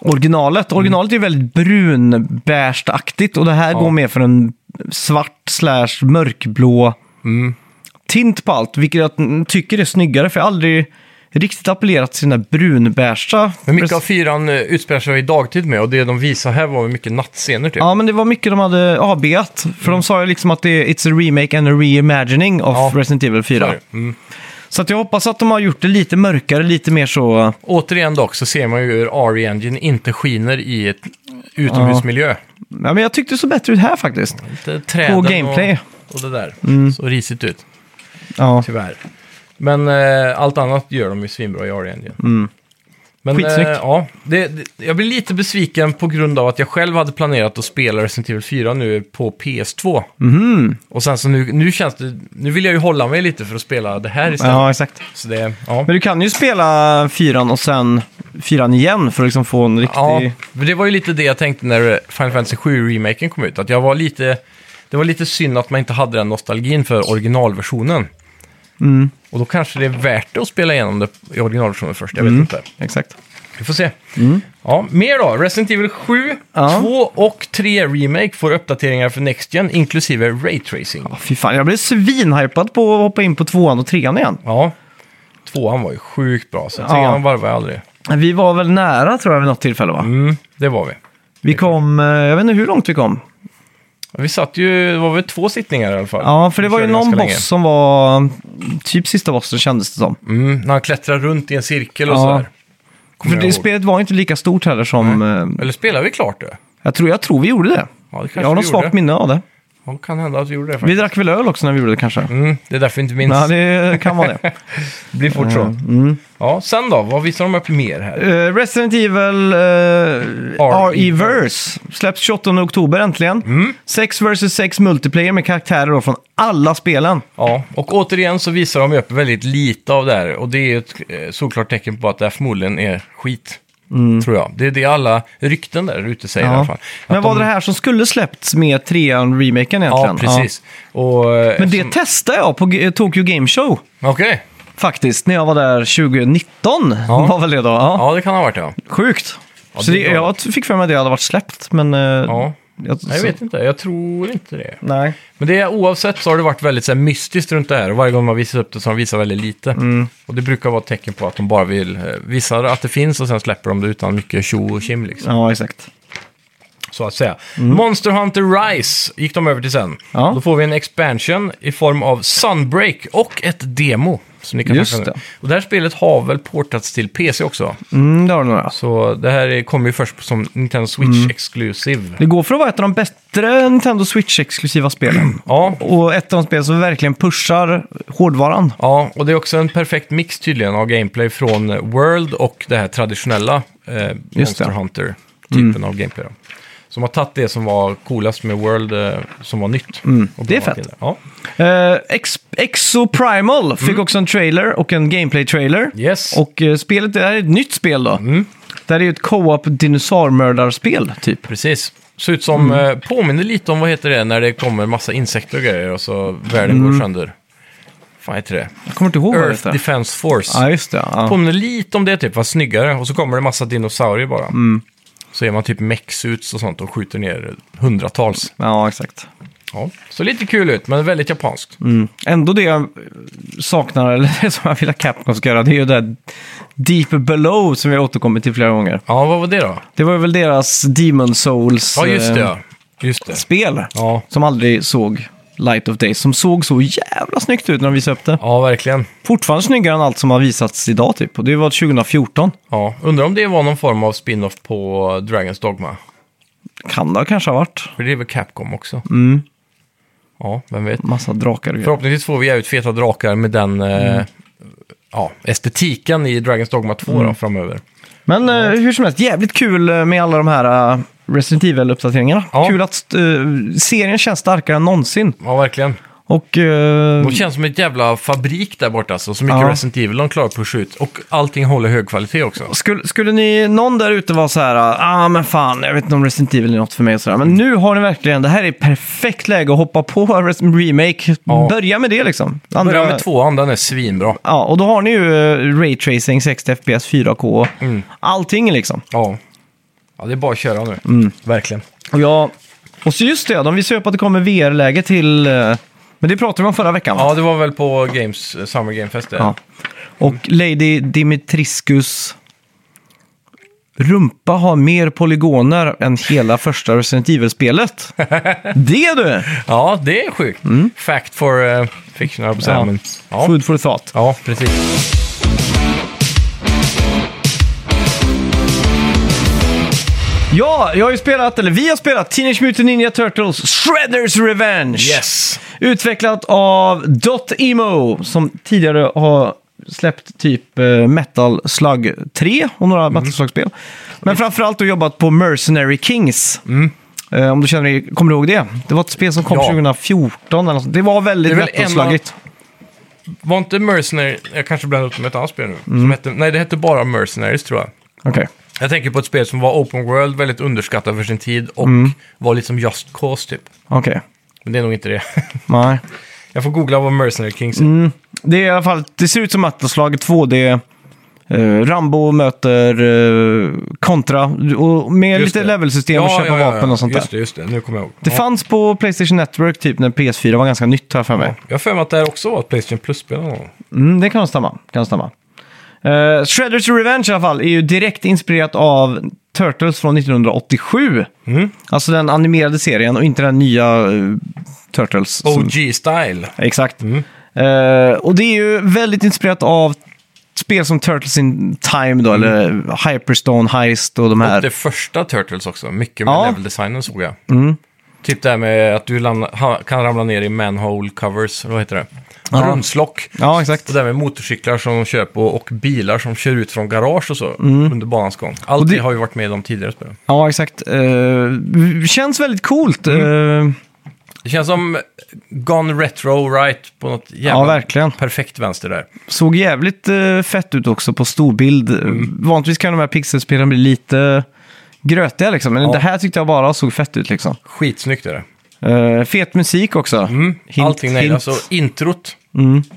[SPEAKER 1] originalet. Originalet är väldigt brunbärsaktigt och det här går mer för en svart slash
[SPEAKER 2] Mm.
[SPEAKER 1] mörkblå tint på allt. Vilket jag tycker är snyggare för jag har aldrig riktigt appellerat till den där brunbärsa.
[SPEAKER 2] Men mycket av fyran eh, utspelar sig i dagtid med och det de visar här var ju mycket nattscener typ.
[SPEAKER 1] Ja, men det var mycket de hade AB-at. För de sa ju liksom att det är it's a remake and a reimagining of
[SPEAKER 2] Ja.
[SPEAKER 1] Resident Evil 4.
[SPEAKER 2] Sorry. Mm.
[SPEAKER 1] Så att jag hoppas att de har gjort det lite mörkare, lite mer så...
[SPEAKER 2] Återigen dock så ser man ju hur RE Engine inte skiner i ett utomhusmiljö.
[SPEAKER 1] Ja, men jag tyckte det såg bättre ut här faktiskt.
[SPEAKER 2] Lite Träden
[SPEAKER 1] gameplay. Mm.
[SPEAKER 2] Och, och det där. Så risigt ut,
[SPEAKER 1] Ja.
[SPEAKER 2] tyvärr. Men eh, allt annat gör de ju svinbra i RE Engine. Men eh,
[SPEAKER 1] Mm. Skitsnyggt.
[SPEAKER 2] ja, det, det, jag blir lite besviken på grund av att jag själv hade planerat att spela Resident Evil 4 nu på PS2.
[SPEAKER 1] Mhm.
[SPEAKER 2] Och sen så nu, nu känns det, nu vill jag ju hålla mig lite för att spela det här istället.
[SPEAKER 1] ja, exakt.
[SPEAKER 2] Så det, ja.
[SPEAKER 1] Men du kan ju spela fyran och sen fyran igen för att liksom få en riktig...
[SPEAKER 2] Ja, men det var ju lite det jag tänkte när Final Fantasy 7-remaken kom ut. Att jag var lite, det var lite synd att man inte hade den nostalgin för originalversionen.
[SPEAKER 1] Mm.
[SPEAKER 2] Och då kanske det är värt det att spela igenom det i originalversionen först, jag
[SPEAKER 1] Mm.
[SPEAKER 2] vet inte.
[SPEAKER 1] Exakt.
[SPEAKER 2] Vi får se. Ja, mer då. Resident Evil 7,
[SPEAKER 1] Mm. Ja.
[SPEAKER 2] 2 och 3 Remake får uppdateringar för Next Gen, inklusive Ray Tracing.
[SPEAKER 1] Åh, fy fan, jag blev svinhypad på att hoppa in på tvåan och trean igen.
[SPEAKER 2] Ja, tvåan var ju sjukt bra, så
[SPEAKER 1] Ja.
[SPEAKER 2] trean varvade jag aldrig.
[SPEAKER 1] Vi var väl nära tror jag vid något tillfälle va?
[SPEAKER 2] Mm, det var vi.
[SPEAKER 1] Vi
[SPEAKER 2] Mm.
[SPEAKER 1] kom, eh, jag vet inte hur långt vi kom.
[SPEAKER 2] Vi satt ju, det var väl två sittningar i alla fall.
[SPEAKER 1] Ja, för det
[SPEAKER 2] Vi
[SPEAKER 1] var ju
[SPEAKER 2] körde
[SPEAKER 1] någon
[SPEAKER 2] ganska
[SPEAKER 1] boss
[SPEAKER 2] länge.
[SPEAKER 1] som var typ sista bossen kändes det som.
[SPEAKER 2] Mm, när han klättrar runt i en cirkel och
[SPEAKER 1] Ja.
[SPEAKER 2] sådär. Kommer
[SPEAKER 1] För
[SPEAKER 2] jag
[SPEAKER 1] det
[SPEAKER 2] ihåg.
[SPEAKER 1] spelet var ju inte lika stort heller som... eh,
[SPEAKER 2] Eller spelar vi klart det?
[SPEAKER 1] Jag tror, jag tror vi gjorde det.
[SPEAKER 2] Ja, det kanske
[SPEAKER 1] Jag har
[SPEAKER 2] vi
[SPEAKER 1] något svagt
[SPEAKER 2] gjorde.
[SPEAKER 1] minne av det.
[SPEAKER 2] Ja, det kan hända att vi gjorde det
[SPEAKER 1] Vi
[SPEAKER 2] faktiskt.
[SPEAKER 1] drack väl öl också när vi gjorde det kanske?
[SPEAKER 2] Mm, det är därför vi inte minns.
[SPEAKER 1] Nej, det kan vara det. Mm,
[SPEAKER 2] det blir fort så. Ja, sen då? Vad visar de upp mer här?
[SPEAKER 1] Eh, Resident Evil uh, RE-Verse släpps 28 oktober äntligen.
[SPEAKER 2] Mm.
[SPEAKER 1] 6 vs 6 multiplayer med karaktärer då från alla spelen.
[SPEAKER 2] Ja, och återigen så visar de ju upp väldigt lite av det här. Och det är ju ett eh, såklart tecken på att det här förmodligen är skit.
[SPEAKER 1] Mm.
[SPEAKER 2] Tror jag. Det är det alla rykten där ute säger i alla fall. Att
[SPEAKER 1] Men var
[SPEAKER 2] de-
[SPEAKER 1] det här som skulle släppts med trean remaken
[SPEAKER 2] Ja,
[SPEAKER 1] egentligen?
[SPEAKER 2] precis. Och, eh,
[SPEAKER 1] Ja. Men det
[SPEAKER 2] eftersom-
[SPEAKER 1] testade jag på G- eh, Tokyo Game Show
[SPEAKER 2] Okej.
[SPEAKER 1] faktiskt, när jag var där 2019.
[SPEAKER 2] Ja.
[SPEAKER 1] Var väl det då? Ja.
[SPEAKER 2] Ja, det kan ha varit ja.
[SPEAKER 1] Sjukt.
[SPEAKER 2] Ja,
[SPEAKER 1] så
[SPEAKER 2] det
[SPEAKER 1] det,
[SPEAKER 2] var-
[SPEAKER 1] jag t- fick för mig att det hade varit släppt, men... eh,
[SPEAKER 2] ja.
[SPEAKER 1] jag,
[SPEAKER 2] Nej, jag vet inte. Jag tror inte det.
[SPEAKER 1] Nej.
[SPEAKER 2] Men det, oavsett så har det varit väldigt så här, mystiskt runt det här. Och varje gång man visar upp det så har de visat väldigt lite.
[SPEAKER 1] Mm.
[SPEAKER 2] Och det brukar vara ett tecken på att de bara vill eh, visa att det finns och sen släpper de det utan mycket tjo och kim liksom.
[SPEAKER 1] Ja, exakt.
[SPEAKER 2] Så att säga. Monster Hunter Rise gick de över till sen.
[SPEAKER 1] Mm. Ja.
[SPEAKER 2] Då får vi en expansion i form av Sunbreak och ett demo. Som ni kan
[SPEAKER 1] Just
[SPEAKER 2] tacka nu.
[SPEAKER 1] det.
[SPEAKER 2] Och det här spelet har väl portats till PC också.
[SPEAKER 1] Mm, det har du nog. ja.
[SPEAKER 2] Så det här är- kommer ju först som Nintendo Switch
[SPEAKER 1] Mm.
[SPEAKER 2] Exclusive.
[SPEAKER 1] Det går för att vara ett av de bättre Nintendo Switch-exklusiva spelen.
[SPEAKER 2] Ja,
[SPEAKER 1] Och ett av de spel som verkligen pushar hårdvaran.
[SPEAKER 2] Ja, och det är också en perfekt mix tydligen av gameplay från eh, World och det här traditionella eh,
[SPEAKER 1] Just det. Mm.
[SPEAKER 2] Monster Hunter-typen av gameplay. Då. Som har tagit det som var coolast med World, eh, som var nytt. Och
[SPEAKER 1] Mm. det är
[SPEAKER 2] blandat
[SPEAKER 1] fett.
[SPEAKER 2] in Ja.
[SPEAKER 1] Eh, Ex- Exo Primal fick också en trailer och en gameplay-trailer.
[SPEAKER 2] Yes.
[SPEAKER 1] Och eh, spelet, det här är ett nytt spel då. Det här är ju ett co-op dinosaurmördarspel, typ.
[SPEAKER 2] Precis. Ser ut som,
[SPEAKER 1] Mm.
[SPEAKER 2] eh, påminner lite om vad heter det, när det kommer massa insekter och grejer och så världen går sönder. Fan heter det?
[SPEAKER 1] Jag kommer inte ihåg Mm. Oh, vad det
[SPEAKER 2] Earth
[SPEAKER 1] heter.
[SPEAKER 2] Defense Force.
[SPEAKER 1] Ja, just det. Ja.
[SPEAKER 2] Påminner lite om det typ, fast snyggare. Och så kommer det massa dinosaurier bara.
[SPEAKER 1] Mm.
[SPEAKER 2] Så är man typ mexuts och sånt och skjuter ner hundratals.
[SPEAKER 1] ja, exakt.
[SPEAKER 2] Ja, så lite kul ut, men väldigt japanskt.
[SPEAKER 1] Mm. Ändå det jag saknar, eller det som jag vill att Capcom ska göra, det är ju det här Deep Below som vi har återkommit till flera gånger.
[SPEAKER 2] Ja, vad var det då?
[SPEAKER 1] Det var väl deras Demon Souls
[SPEAKER 2] Ja, just det.
[SPEAKER 1] eh,
[SPEAKER 2] ja. Just det.
[SPEAKER 1] spel.
[SPEAKER 2] Ja,
[SPEAKER 1] Som aldrig såg Light of Day, som såg så jävla snyggt ut när de visade upp det.
[SPEAKER 2] ja verkligen.
[SPEAKER 1] Fortfarande snyggare än allt som har visats idag typ. Och det var 2014.
[SPEAKER 2] Ja. Undrar om det var någon form av spin-off på Dragon's Dogma.
[SPEAKER 1] Kan det kanske ha varit.
[SPEAKER 2] För det är väl Capcom också?
[SPEAKER 1] Mm.
[SPEAKER 2] Ja, vem vet.
[SPEAKER 1] Massa drakar och grejer.
[SPEAKER 2] Förhoppningsvis får vi ut feta drakar med den eh,
[SPEAKER 1] Mm.
[SPEAKER 2] ja, estetiken i Dragon's Dogma 2
[SPEAKER 1] Mm.
[SPEAKER 2] då, framöver.
[SPEAKER 1] Men eh, hur som helst, jävligt kul eh, med alla de här eh, Resident Evil-uppdateringarna.
[SPEAKER 2] Ja.
[SPEAKER 1] Kul att eh, serien känns starkare än någonsin.
[SPEAKER 2] Ja, verkligen.
[SPEAKER 1] Och... eh,
[SPEAKER 2] De känns som ett jävla fabrik där borta, alltså. Så mycket
[SPEAKER 1] Ja.
[SPEAKER 2] Resident Evil de klarar att pusha ut. Och allting håller hög kvalitet också.
[SPEAKER 1] skulle, skulle ni, någon där ute vara så här, ah men fan, jag vet inte om Resident Evil är något för mig och sådär. Men nu har ni verkligen, det här är perfekt läge att hoppa på Res- remake.
[SPEAKER 2] Ja.
[SPEAKER 1] Börja med det liksom. Andra-
[SPEAKER 2] Börja med tvåan, den är svinbra.
[SPEAKER 1] Ja, och då har ni ju eh, Ray Tracing, 60 FPS, 4K,
[SPEAKER 2] Mm.
[SPEAKER 1] allting liksom.
[SPEAKER 2] Ja. ja, det är bara att köra nu.
[SPEAKER 1] Mm.
[SPEAKER 2] Verkligen.
[SPEAKER 1] Och, jag, och så just det, de visar ju upp att det kommer VR-läge till eh, Men det pratade vi om förra veckan. va?
[SPEAKER 2] Ja, det var väl på Games, eh, Summer Game Fest det.
[SPEAKER 1] Ja. Och Lady Dimitriscus rumpa har mer polygoner än hela första Resident Evil-spelet. det du!
[SPEAKER 2] Ja, det är sjukt. Fact for uh, fiction, höll jag på att säga,
[SPEAKER 1] Mm. Ja.
[SPEAKER 2] men- ja.
[SPEAKER 1] Food for thought.
[SPEAKER 2] ja, precis.
[SPEAKER 1] Ja, jag har ju spelat, eller vi har spelat, Teenage Mutant Ninja Turtles Shredders Revenge!
[SPEAKER 2] Yes!
[SPEAKER 1] Utvecklat av Dot Emo, som tidigare har släppt typ eh, Metal Slug 3 och
[SPEAKER 2] Mm.
[SPEAKER 1] några Metal Slug-spel. Men framförallt har jobbat på Mercenary Kings. Eh, om du känner dig, kommer du ihåg det? Det var ett spel som kom
[SPEAKER 2] Mm. Ja.
[SPEAKER 1] 2014 eller något. sånt. Det var väldigt
[SPEAKER 2] Det är väl en av-
[SPEAKER 1] Metal-slugigt.
[SPEAKER 2] Var inte Mercenary, jag kanske blandade upp det med ett annat spel nu.
[SPEAKER 1] Mm.
[SPEAKER 2] Som hette, nej, det hette bara Mercenaries tror jag.
[SPEAKER 1] Okej.
[SPEAKER 2] Jag tänker på ett spel som var open world, väldigt underskattat för sin tid och
[SPEAKER 1] Mm.
[SPEAKER 2] var lite som Just Cause typ.
[SPEAKER 1] Okej.
[SPEAKER 2] Men det är nog inte det.
[SPEAKER 1] Nej.
[SPEAKER 2] Jag får googla vad Mercenary Kings är.
[SPEAKER 1] Mm, Det är i alla fall, det ser ut som Metal Slug 2D. eh, Rambo möter eh, Contra och med
[SPEAKER 2] Just
[SPEAKER 1] lite
[SPEAKER 2] det.
[SPEAKER 1] levelsystem och köpa vapen och sånt där.
[SPEAKER 2] Just det, just det. Nu kommer jag ihåg.
[SPEAKER 1] Det fanns på Playstation Network typ när PS4 var ganska nytt här för mig.
[SPEAKER 2] ja. Jag har för mig att det här också var ett Playstation Plus-spel någon gång.
[SPEAKER 1] Mm, det kan stämma. Kan stämma. Eh, Shredders Revenge i alla fall är ju direkt inspirerat av Turtles från 1987.
[SPEAKER 2] Mm.
[SPEAKER 1] Alltså den animerade serien och inte den nya eh, Turtles. som-
[SPEAKER 2] Oh, OG-style.
[SPEAKER 1] Exakt.
[SPEAKER 2] Mm.
[SPEAKER 1] Eh, och det är ju väldigt inspirerat av spel som Turtles in Time då, eller Hyperstone Heist och de här.
[SPEAKER 2] Mm. Och det första Turtles också. Mycket med
[SPEAKER 1] Ja.
[SPEAKER 2] level-designen såg jag. Typ det här med att du lamna, ha, kan ramla ner i manhole covers, eller vad heter det?
[SPEAKER 1] Ja.
[SPEAKER 2] Brunnslock.
[SPEAKER 1] Ja, exakt.
[SPEAKER 2] Och det här med motorcyklar som de köper och, och bilar som kör ut från garage och så under banans gång. Allt
[SPEAKER 1] Mm. Och
[SPEAKER 2] det...
[SPEAKER 1] det-
[SPEAKER 2] har ju varit med i de tidigare spelen.
[SPEAKER 1] Ja, exakt. Eh, känns väldigt coolt.
[SPEAKER 2] Mm.
[SPEAKER 1] Eh,
[SPEAKER 2] Det känns som Gone Retro Right på något jävla
[SPEAKER 1] Ja, verkligen.
[SPEAKER 2] perfekt vänster där.
[SPEAKER 1] Såg jävligt eh, fett ut också på storbild.
[SPEAKER 2] Mm.
[SPEAKER 1] Vanligtvis kan de här pixelspelen bli lite grötiga liksom, men
[SPEAKER 2] Ja.
[SPEAKER 1] det här tyckte jag bara såg fett ut liksom.
[SPEAKER 2] Skitsnyggt är det.
[SPEAKER 1] Eh, fet musik också.
[SPEAKER 2] Mm.
[SPEAKER 1] Hint,
[SPEAKER 2] Allting
[SPEAKER 1] hint.
[SPEAKER 2] nailas. Och introt,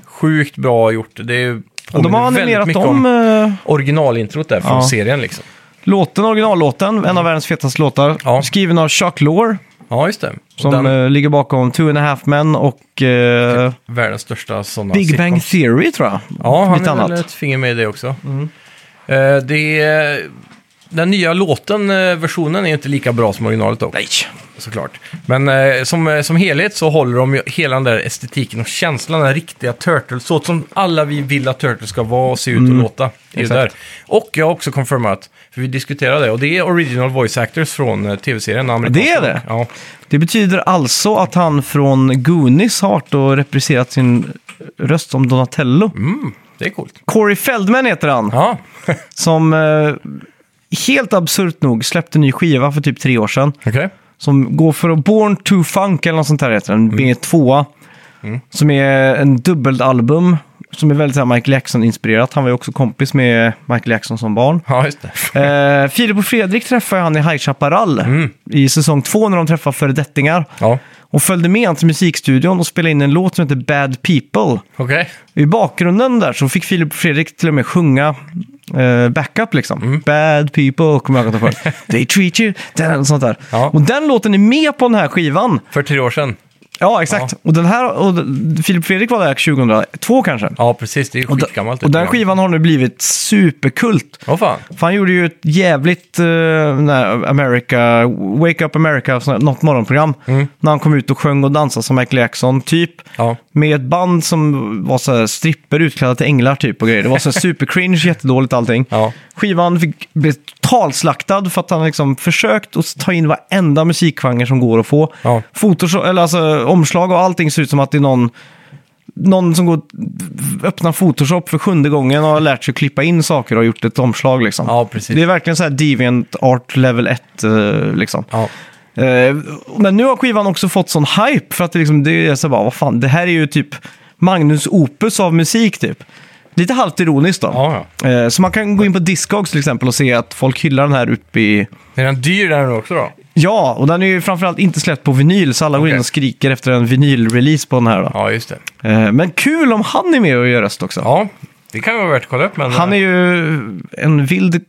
[SPEAKER 2] sjukt bra gjort. Det är ju
[SPEAKER 1] Och de har
[SPEAKER 2] påminner väldigt
[SPEAKER 1] animerat
[SPEAKER 2] mycket
[SPEAKER 1] om, eh,
[SPEAKER 2] originalintrot där från
[SPEAKER 1] Ja.
[SPEAKER 2] serien liksom.
[SPEAKER 1] låten, originallåten, en av världens fetaste låtar.
[SPEAKER 2] Mm. Ja.
[SPEAKER 1] Skriven av Chuck Lorre,
[SPEAKER 2] Ja, just det. Och
[SPEAKER 1] som
[SPEAKER 2] den,
[SPEAKER 1] eh, ligger bakom Two and a Half Men och eh,
[SPEAKER 2] världens största sådana
[SPEAKER 1] Big Bang
[SPEAKER 2] sitcoms.
[SPEAKER 1] Theory tror jag.
[SPEAKER 2] Ja, han
[SPEAKER 1] Lite
[SPEAKER 2] är väl
[SPEAKER 1] annat. Mm.
[SPEAKER 2] ett finger med i det också. Eh, det är, den nya låten, eh, versionen, är ju inte lika bra som originalet dock. Nej. Såklart. Men eh, som, eh, som helhet så håller de ju hela den där estetiken och känslan, den här riktiga Turtles, så som alla vi vill att Turtles ska vara och se ut och låta. Det är ju
[SPEAKER 1] Mm. Exakt.
[SPEAKER 2] där. Och jag har också confirmat, för vi diskuterade det, och det är original voice actors från eh, tv-serien. den amerikanska.
[SPEAKER 1] Det är det?
[SPEAKER 2] Ja.
[SPEAKER 1] Det betyder alltså att han från Goonies har varit och repriserat sin röst som Donatello.
[SPEAKER 2] Mm, det är coolt.
[SPEAKER 1] Corey Feldman heter han,
[SPEAKER 2] Ja,
[SPEAKER 1] som eh, helt absurt nog släppte en ny skiva för typ tre år sedan.
[SPEAKER 2] okej.
[SPEAKER 1] Som går för Born to Funk eller något sånt där heter den, B2. Som är en dubbelalbum som är väldigt så här Michael Jackson-inspirerat. Han var ju också kompis med Michael Jackson som barn.
[SPEAKER 2] Ja, just det.
[SPEAKER 1] Eh, Filip och Fredrik träffade han i High Chaparral i säsong två när de träffade föredettingar.
[SPEAKER 2] Ja,
[SPEAKER 1] Och följde med han till musikstudion och spelade in en låt som heter Bad People.
[SPEAKER 2] okej.
[SPEAKER 1] I bakgrunden där så fick Filip och Fredrik till och med sjunga eh, backup liksom.
[SPEAKER 2] Mm.
[SPEAKER 1] Bad people, kommer jag ihåg att de sjöng. They treat you, den, sånt där.
[SPEAKER 2] Ja.
[SPEAKER 1] Och den låten är med på den här skivan.
[SPEAKER 2] För tre år sedan.
[SPEAKER 1] Ja, exakt. Och den här, och d- Filip och Fredrik var där 2002 kanske.
[SPEAKER 2] Ja, precis. Det är ju
[SPEAKER 1] och, d-
[SPEAKER 2] skitgammalt.
[SPEAKER 1] och den
[SPEAKER 2] Ja.
[SPEAKER 1] skivan har nu blivit superkult.
[SPEAKER 2] Åh fan.
[SPEAKER 1] För han gjorde ju ett jävligt eh, när America, Wake Up America, sån här- något morgonprogram. När han kom ut och sjöng och dansade som Michael Jackson, typ.
[SPEAKER 2] Mm. Ja.
[SPEAKER 1] Med ett band som var så här stripper utklädda till änglar typ och grejer. Det var så här supercringe, jättedåligt allting.
[SPEAKER 2] Ja.
[SPEAKER 1] Skivan fick, blev totalslaktad för att han liksom försökt att ta in varenda musikgenre som går att få.
[SPEAKER 2] Ja.
[SPEAKER 1] Fotos, eller alltså, omslag och allting ser ut som att det är någon, någon som går och öppnar Photoshop för sjunde gången och har lärt sig att klippa in saker och gjort ett omslag. Liksom.
[SPEAKER 2] Ja, precis.
[SPEAKER 1] Det är verkligen så här deviant art level 1. eh, Liksom.
[SPEAKER 2] Ja.
[SPEAKER 1] Eh, Men nu har skivan också fått sån hype för att det, liksom, det är så bara, vad fan, det här är ju typ Magnus opus av musik typ. Lite halvt ironiskt då.
[SPEAKER 2] Ja,
[SPEAKER 1] Eh, Så man kan gå in på Discogs till exempel och se att folk hyllar den här uppe i...
[SPEAKER 2] Är den dyr den nu också då?
[SPEAKER 1] Ja, och den är ju framförallt inte släppt på vinyl så alla går
[SPEAKER 2] Okej.
[SPEAKER 1] in och skriker efter en vinylrelease på den här då.
[SPEAKER 2] Ja, just det.
[SPEAKER 1] Eh, Men kul om han är med och gör röst också.
[SPEAKER 2] Ja, det kan ju vara värt att kolla upp. Men
[SPEAKER 1] Han är ju en vild,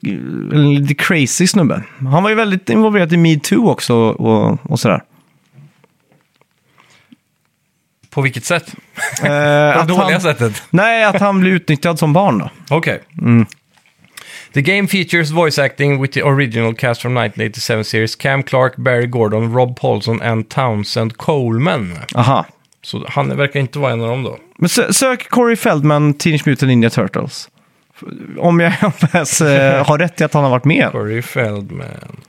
[SPEAKER 1] en lite crazy snubbe. Han var ju väldigt involverad i metoo också och, och sådär.
[SPEAKER 2] På vilket sätt?
[SPEAKER 1] Eh,
[SPEAKER 2] På
[SPEAKER 1] att
[SPEAKER 2] dåliga
[SPEAKER 1] han,
[SPEAKER 2] sättet?
[SPEAKER 1] nej, att han blir utnyttjad som barn då.
[SPEAKER 2] Okej.
[SPEAKER 1] Mm.
[SPEAKER 2] The game features voice acting with the original cast from 1987 series Cam Clark, Barry Gordon, Rob Paulson and Townsend Coleman.
[SPEAKER 1] Aha.
[SPEAKER 2] Så han verkar inte vara en av dem då.
[SPEAKER 1] Men sö- sök Corey Feldman, Teenage Mutant Ninja Turtles. Om jag ens eh, har rätt i att han har varit med.
[SPEAKER 2] Corey Feldman.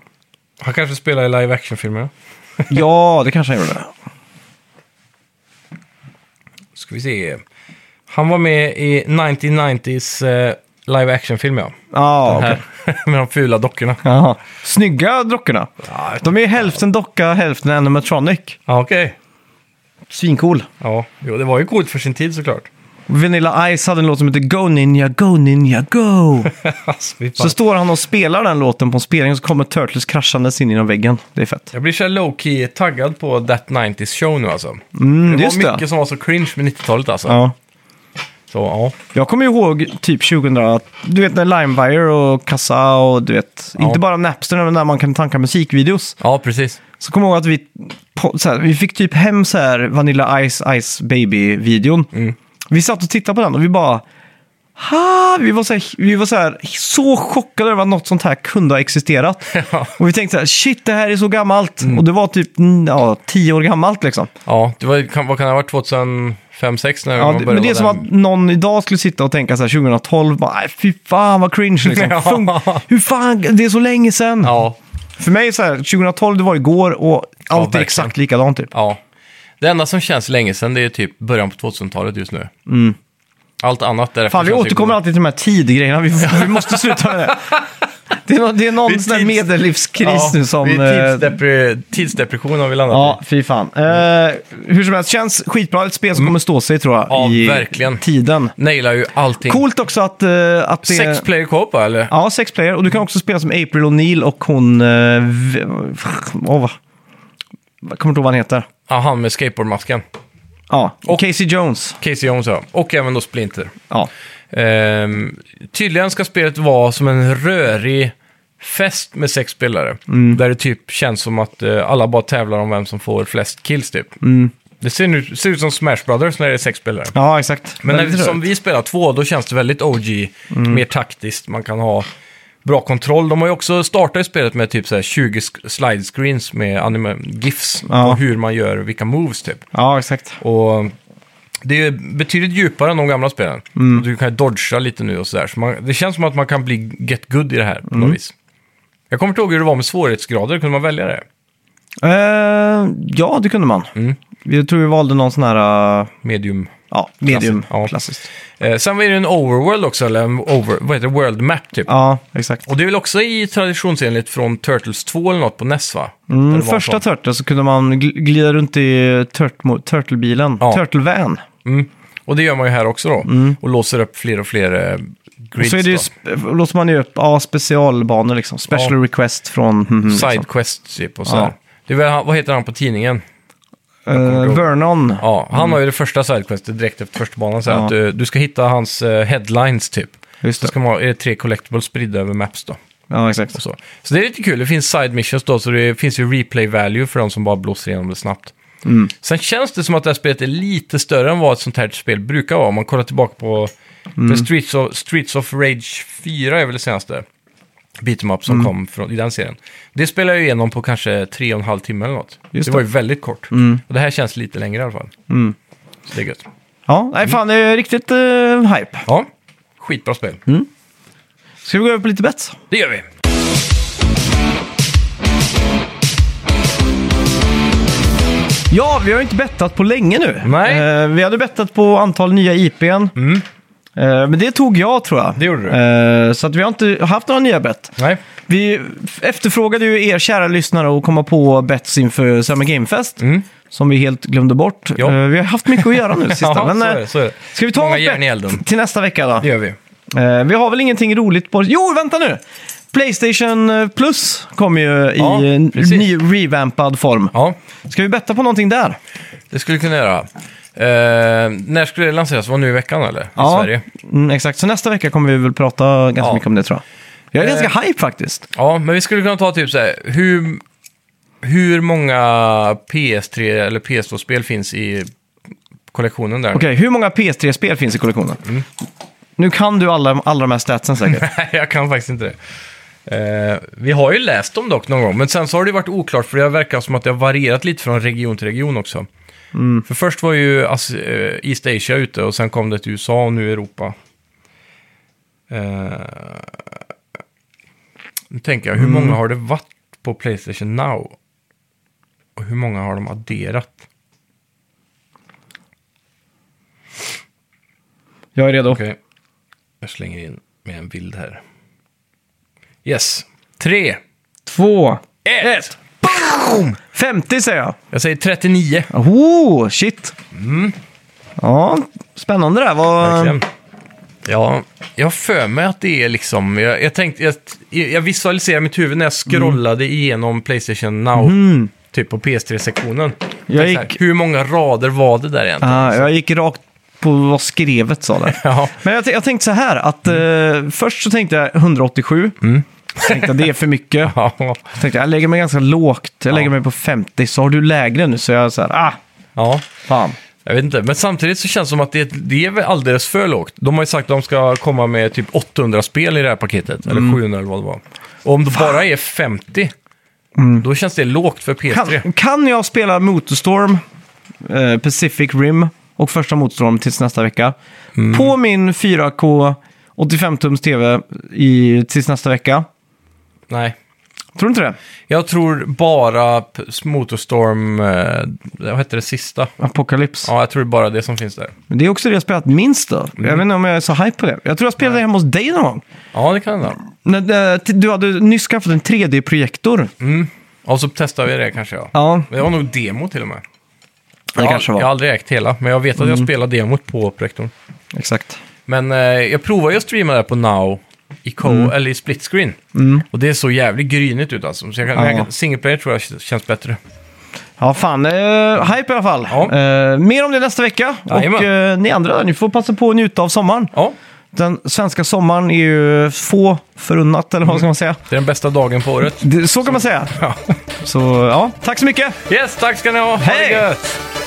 [SPEAKER 2] Han kanske spelar i live action-filmer.
[SPEAKER 1] Ja, det kanske han gjorde.
[SPEAKER 2] Ska vi se. Han var med i 1990s eh, live action-film, ja.
[SPEAKER 1] Ja, okej.
[SPEAKER 2] Här. med de fula dockorna.
[SPEAKER 1] Jaha. Snygga dockorna.
[SPEAKER 2] Ja,
[SPEAKER 1] De är hälften docka, hälften animatronic.
[SPEAKER 2] Ja, okej.
[SPEAKER 1] Svincool.
[SPEAKER 2] Ja, jo, det var ju coolt för sin tid såklart.
[SPEAKER 1] Vanilla Ice hade en låt som heter Go Ninja, Go Ninja, Go.
[SPEAKER 2] alltså, vi
[SPEAKER 1] Så
[SPEAKER 2] fan-
[SPEAKER 1] står han och spelar den låten på en spelning och så kommer Turtles kraschandes in genom väggen. Det är fett.
[SPEAKER 2] Jag blir så här low-key taggad på That 90s show nu alltså.
[SPEAKER 1] Mm,
[SPEAKER 2] det var
[SPEAKER 1] just
[SPEAKER 2] mycket
[SPEAKER 1] det.
[SPEAKER 2] som var så cringe med 90-talet alltså.
[SPEAKER 1] Ja.
[SPEAKER 2] Så ja,
[SPEAKER 1] Jag kommer ihåg typ 2000, du vet när Limewire och Kassa och du vet,
[SPEAKER 2] Ja.
[SPEAKER 1] inte bara Napster, men när man kan tanka musikvideos.
[SPEAKER 2] ja precis.
[SPEAKER 1] Så kommer jag ihåg att vi, på, så här, vi fick typ hem så här Vanilla Ice Ice Baby-videon.
[SPEAKER 2] Mm.
[SPEAKER 1] Vi satt och tittade på den och vi bara... Ha! Vi var, så här, vi var så, här, så chockade över att något sånt här kunde ha existerat.
[SPEAKER 2] Ja.
[SPEAKER 1] Och vi tänkte så här, shit det här är så gammalt. Och det var typ mm, ja, tio år gammalt liksom.
[SPEAKER 2] Ja, det var, kan, vad kan det ha varit? 2005, 6 när
[SPEAKER 1] Ja,
[SPEAKER 2] man
[SPEAKER 1] det,
[SPEAKER 2] började
[SPEAKER 1] men det är som
[SPEAKER 2] vara
[SPEAKER 1] att någon idag skulle sitta och tänka så här 2012, bara, "Nej, fy fan vad cringe liksom.
[SPEAKER 2] Ja.
[SPEAKER 1] Fun- Hur fan, det är så länge sedan.
[SPEAKER 2] Ja,
[SPEAKER 1] För mig så här, 2012 det var igår och allt är
[SPEAKER 2] verkligen.
[SPEAKER 1] exakt likadant typ.
[SPEAKER 2] ja. Det enda som känns länge sedan det är typ början på 2000-talet just nu. Allt annat därefter
[SPEAKER 1] Mm. Fan, vi
[SPEAKER 2] känns ju
[SPEAKER 1] återkommer
[SPEAKER 2] god.
[SPEAKER 1] alltid till de här tidgrejerna. Vi, vi måste sluta med det. Det är, nå- det är någon
[SPEAKER 2] Vi är
[SPEAKER 1] sån här
[SPEAKER 2] tids-
[SPEAKER 1] medellivskris
[SPEAKER 2] Ja,
[SPEAKER 1] nu som...
[SPEAKER 2] vi är
[SPEAKER 1] eh,
[SPEAKER 2] tidsdepre- tidsdepression har vi landat
[SPEAKER 1] Ja, fy fan. Eh, hur som helst, känns skitbra. Ett spel som kommer stå sig tror jag
[SPEAKER 2] Mm. Ja,
[SPEAKER 1] i
[SPEAKER 2] verkligen.
[SPEAKER 1] tiden.
[SPEAKER 2] i. Nailar ju allting.
[SPEAKER 1] Coolt också att, eh, att det...
[SPEAKER 2] Sex player co-op va, eller?
[SPEAKER 1] Ja, sex player. Och du kan också spela som April O'Neil och hon... eh, v- Åh, vad... Jag kommer inte ihåg vad han heter.
[SPEAKER 2] Ja, han med skateboardmasken.
[SPEAKER 1] Ja,
[SPEAKER 2] Och-
[SPEAKER 1] Casey Jones.
[SPEAKER 2] Casey Jones ja. Och även då Splinter.
[SPEAKER 1] Ja.
[SPEAKER 2] Ehm, tydligen ska spelet vara som en rörig fest med sex spelare.
[SPEAKER 1] Mm.
[SPEAKER 2] Där det typ känns som att eh, alla bara tävlar om vem som får flest kills typ.
[SPEAKER 1] Mm.
[SPEAKER 2] Det ser, nu, ser ut som Smash Brothers när det är sex spelare.
[SPEAKER 1] ja, exakt.
[SPEAKER 2] Men när
[SPEAKER 1] Väldigt Mm.
[SPEAKER 2] vi, som
[SPEAKER 1] rörigt.
[SPEAKER 2] vi spelar två, då känns det väldigt OG. Mer taktiskt, man kan ha bra kontroll. De har ju också startat spelet med typ så här 20 sk- slide screens med anime GIFs.
[SPEAKER 1] Ja.
[SPEAKER 2] På hur man gör vilka moves typ.
[SPEAKER 1] Ja, exakt.
[SPEAKER 2] Och det är ju betydligt djupare än de gamla spelen.
[SPEAKER 1] Mm.
[SPEAKER 2] Du kan ju dodga lite nu och sådär. Så man, det känns som att man kan bli get good i det här på
[SPEAKER 1] Mm.
[SPEAKER 2] något vis. Jag kommer inte ihåg hur det var med svårighetsgrader, kunde man välja det?
[SPEAKER 1] Eh, ja, det kunde man.
[SPEAKER 2] Mm.
[SPEAKER 1] Jag tror vi valde någon sån här... eh,
[SPEAKER 2] Medium.
[SPEAKER 1] Ja, medium.
[SPEAKER 2] Ja.
[SPEAKER 1] Klassiskt.
[SPEAKER 2] Eh, sen var det ju en overworld också, eller en over, vad heter det, world map typ.
[SPEAKER 1] Ja, exakt.
[SPEAKER 2] Och det är väl också i traditionsenligt från Turtles 2 eller något på NES va? Där
[SPEAKER 1] Mm,
[SPEAKER 2] det var
[SPEAKER 1] första
[SPEAKER 2] en sån.
[SPEAKER 1] Turtle så kunde man gl- glida runt i turt- Turtle-bilen.
[SPEAKER 2] Ja.
[SPEAKER 1] Turtle-van.
[SPEAKER 2] mm. Och det gör man ju här också då. Och låser upp fler och fler eh,
[SPEAKER 1] Mm. Och
[SPEAKER 2] grids
[SPEAKER 1] så är det ju,
[SPEAKER 2] då.
[SPEAKER 1] sp- låter man ju upp ja, specialbanor liksom. Special
[SPEAKER 2] Ja.
[SPEAKER 1] request från... Mm, liksom.
[SPEAKER 2] Sidequests typ och sådär.
[SPEAKER 1] Ja.
[SPEAKER 2] Det är väl, han- vad heter han på tidningen?
[SPEAKER 1] Eh, Vernon.
[SPEAKER 2] Ja, han har ju det första sidequestet direkt efter första banan. Så här
[SPEAKER 1] Mm. Ja.
[SPEAKER 2] att du, du ska hitta hans eh, headlines typ.
[SPEAKER 1] Just
[SPEAKER 2] Så
[SPEAKER 1] det.
[SPEAKER 2] ska man ha är det tre collectibles spridda över maps då.
[SPEAKER 1] Ja, exakt.
[SPEAKER 2] Och så. så det är lite kul. Det finns side missions då, så det finns ju replay value för de som bara blåser igenom det snabbt.
[SPEAKER 1] Mm.
[SPEAKER 2] Sen känns det som att det här spelet är lite större än vad ett sånt här spel brukar vara. Om man kollar tillbaka på
[SPEAKER 1] Mm.
[SPEAKER 2] för Streets, of, Streets of Rage 4 är väl det senaste beat em up
[SPEAKER 1] Mm.
[SPEAKER 2] som kom från, i den serien. Det spelar jag ju igenom på kanske tre och en halv timme eller något.
[SPEAKER 1] Just
[SPEAKER 2] det
[SPEAKER 1] det. Mm.
[SPEAKER 2] var ju väldigt kort. Och det här känns lite längre i alla fall. Så det är gött.
[SPEAKER 1] Ja, nej fan, det är riktigt eh, hype.
[SPEAKER 2] Ja, skitbra spel.
[SPEAKER 1] Mm. Ska vi gå över på lite bets?
[SPEAKER 2] Det gör vi.
[SPEAKER 1] Ja, vi har ju inte bettat på länge nu.
[SPEAKER 2] Nej.
[SPEAKER 1] Eh, vi hade bettat på antal nya IPn. Eh, men det tog jag, tror jag.
[SPEAKER 2] Det gjorde du.
[SPEAKER 1] Eh, så att vi har inte haft några nya bett.
[SPEAKER 2] Nej.
[SPEAKER 1] Vi efterfrågade ju er kära lyssnare att komma på bets inför Summer Game Fest. Som vi helt glömde bort.
[SPEAKER 2] Ja.
[SPEAKER 1] Eh, vi har haft mycket att göra nu sista.
[SPEAKER 2] Ja,
[SPEAKER 1] men,
[SPEAKER 2] så är
[SPEAKER 1] eh,
[SPEAKER 2] det, så är det.
[SPEAKER 1] Ska vi ta
[SPEAKER 2] Många
[SPEAKER 1] något
[SPEAKER 2] järn i
[SPEAKER 1] bett
[SPEAKER 2] elden.
[SPEAKER 1] till nästa vecka då?
[SPEAKER 2] Det gör vi.
[SPEAKER 1] Eh, vi har väl ingenting roligt på... Jo, vänta nu! Playstation eh, Plus kommer ju i
[SPEAKER 2] Ja,
[SPEAKER 1] eh,
[SPEAKER 2] precis.
[SPEAKER 1] ny revampad form.
[SPEAKER 2] Ja.
[SPEAKER 1] Ska vi betta på någonting där?
[SPEAKER 2] Det skulle kunna göra. Eh, när skulle det lanseras? Var det nu i veckan eller? I Sverige?
[SPEAKER 1] Mm, exakt. Så nästa vecka kommer vi väl prata ganska
[SPEAKER 2] Ja.
[SPEAKER 1] mycket om det tror jag. Jag är
[SPEAKER 2] Eh.
[SPEAKER 1] ganska hype faktiskt.
[SPEAKER 2] Ja, men vi skulle kunna ta typ så här, hur, hur många PS3 eller PS2-spel finns i kollektionen där.
[SPEAKER 1] Okej, hur många PS3-spel finns i kollektionen?
[SPEAKER 2] Mm.
[SPEAKER 1] Nu kan du alla, alla de här statsen säkert.
[SPEAKER 2] Nej, jag kan faktiskt inte det. Eh, vi har ju läst dem dock någon gång, men sen så har det varit oklart för det verkar som att det har varierat lite från region till region också. För först var ju As- eh, East Asia ute och sen kom det till USA och nu Europa. Eh, nu tänker jag, hur många har det varit på Playstation Now? Och hur många har de adderat?
[SPEAKER 1] Jag är redo.
[SPEAKER 2] Okej, jag slänger in med en bild här. Yes, tre,
[SPEAKER 1] Två,
[SPEAKER 2] ett!
[SPEAKER 1] ett! Boom! 50 säger jag.
[SPEAKER 2] Jag säger 39.
[SPEAKER 1] Oh, shit! Ja, spännande det här. Vad...
[SPEAKER 2] Mm. Verkligen. Ja, jag har för mig att det är liksom... Jag, jag, tänkte, jag, jag visualiserar mitt huvud när jag
[SPEAKER 1] Mm.
[SPEAKER 2] scrollade igenom Playstation Now. Typ på PS3-sektionen.
[SPEAKER 1] Jag
[SPEAKER 2] Tänkte så här,
[SPEAKER 1] gick-
[SPEAKER 2] Hur många rader var det där egentligen?
[SPEAKER 1] Ah, jag gick rakt på vad skrevet sa där.
[SPEAKER 2] Ja.
[SPEAKER 1] Men jag, t- jag tänkte så här, att eh, först så tänkte jag 187. Mm. Tänkte jag, det är för mycket.
[SPEAKER 2] Ja.
[SPEAKER 1] Jag tänkte jag lägger mig ganska lågt, jag lägger mig på 50. Så har du lägre nu, så jag så här, ah,
[SPEAKER 2] ja,
[SPEAKER 1] fan.
[SPEAKER 2] jag vet inte. Men samtidigt så känns det som att det, det är väl alldeles för lågt. De har ju sagt att de ska komma med typ 800 spel i det här paketet.
[SPEAKER 1] Mm.
[SPEAKER 2] Eller 700 eller vad det var. Och om det bara är 50, då känns det lågt för PS3.
[SPEAKER 1] Mm. Kan, kan jag spela Motorstorm, eh, Pacific Rim och första Motorstorm tills nästa vecka?
[SPEAKER 2] Mm.
[SPEAKER 1] På min 4K 85-tums TV i, tills nästa vecka?
[SPEAKER 2] Nej.
[SPEAKER 1] Tror du inte det?
[SPEAKER 2] Jag tror bara p- Motorstorm, eh, vad hette det sista?
[SPEAKER 1] Apocalypse.
[SPEAKER 2] Ja, jag tror det är bara det som finns där.
[SPEAKER 1] Men det är också det jag spelat minst då.
[SPEAKER 2] Mm.
[SPEAKER 1] Jag vet inte om jag är så hype på det. Jag tror jag spelade hemma hos dig någon gång.
[SPEAKER 2] Ja, det kan det vara.
[SPEAKER 1] När, eh, t- Du hade nyss skaffat en 3D-projektor.
[SPEAKER 2] Mm. Och så testar vi det kanske, ja.
[SPEAKER 1] Ja,
[SPEAKER 2] Det var nog demo till och med.
[SPEAKER 1] det
[SPEAKER 2] ja,
[SPEAKER 1] kanske
[SPEAKER 2] Jag
[SPEAKER 1] var.
[SPEAKER 2] har
[SPEAKER 1] Mm.
[SPEAKER 2] aldrig ägt hela, men jag vet att jag spelar demot på projektorn.
[SPEAKER 1] Exakt.
[SPEAKER 2] Men eh, jag provar ju att streama där på Now i co
[SPEAKER 1] Mm.
[SPEAKER 2] eller i split screen. Och det är så jävligt grynigt ut alltså. Så jag kan,
[SPEAKER 1] Ja.
[SPEAKER 2] jag kan, single player tror jag k- känns bättre.
[SPEAKER 1] Ja, fan. eh, hype i alla fall.
[SPEAKER 2] Ja.
[SPEAKER 1] Eh, mer om det nästa vecka.
[SPEAKER 2] Jajamän.
[SPEAKER 1] Och eh, ni andra, där, ni får passa på att njuta av sommaren.
[SPEAKER 2] Ja,
[SPEAKER 1] Den svenska sommaren är ju få förunnat, eller vad ska man säga?
[SPEAKER 2] det är den bästa dagen på året.
[SPEAKER 1] Det- Så kan man säga.
[SPEAKER 2] Ja.
[SPEAKER 1] Så ja, tack så mycket!
[SPEAKER 2] Yes, tack ska ni ha! Ha det
[SPEAKER 1] Hej!
[SPEAKER 2] gött!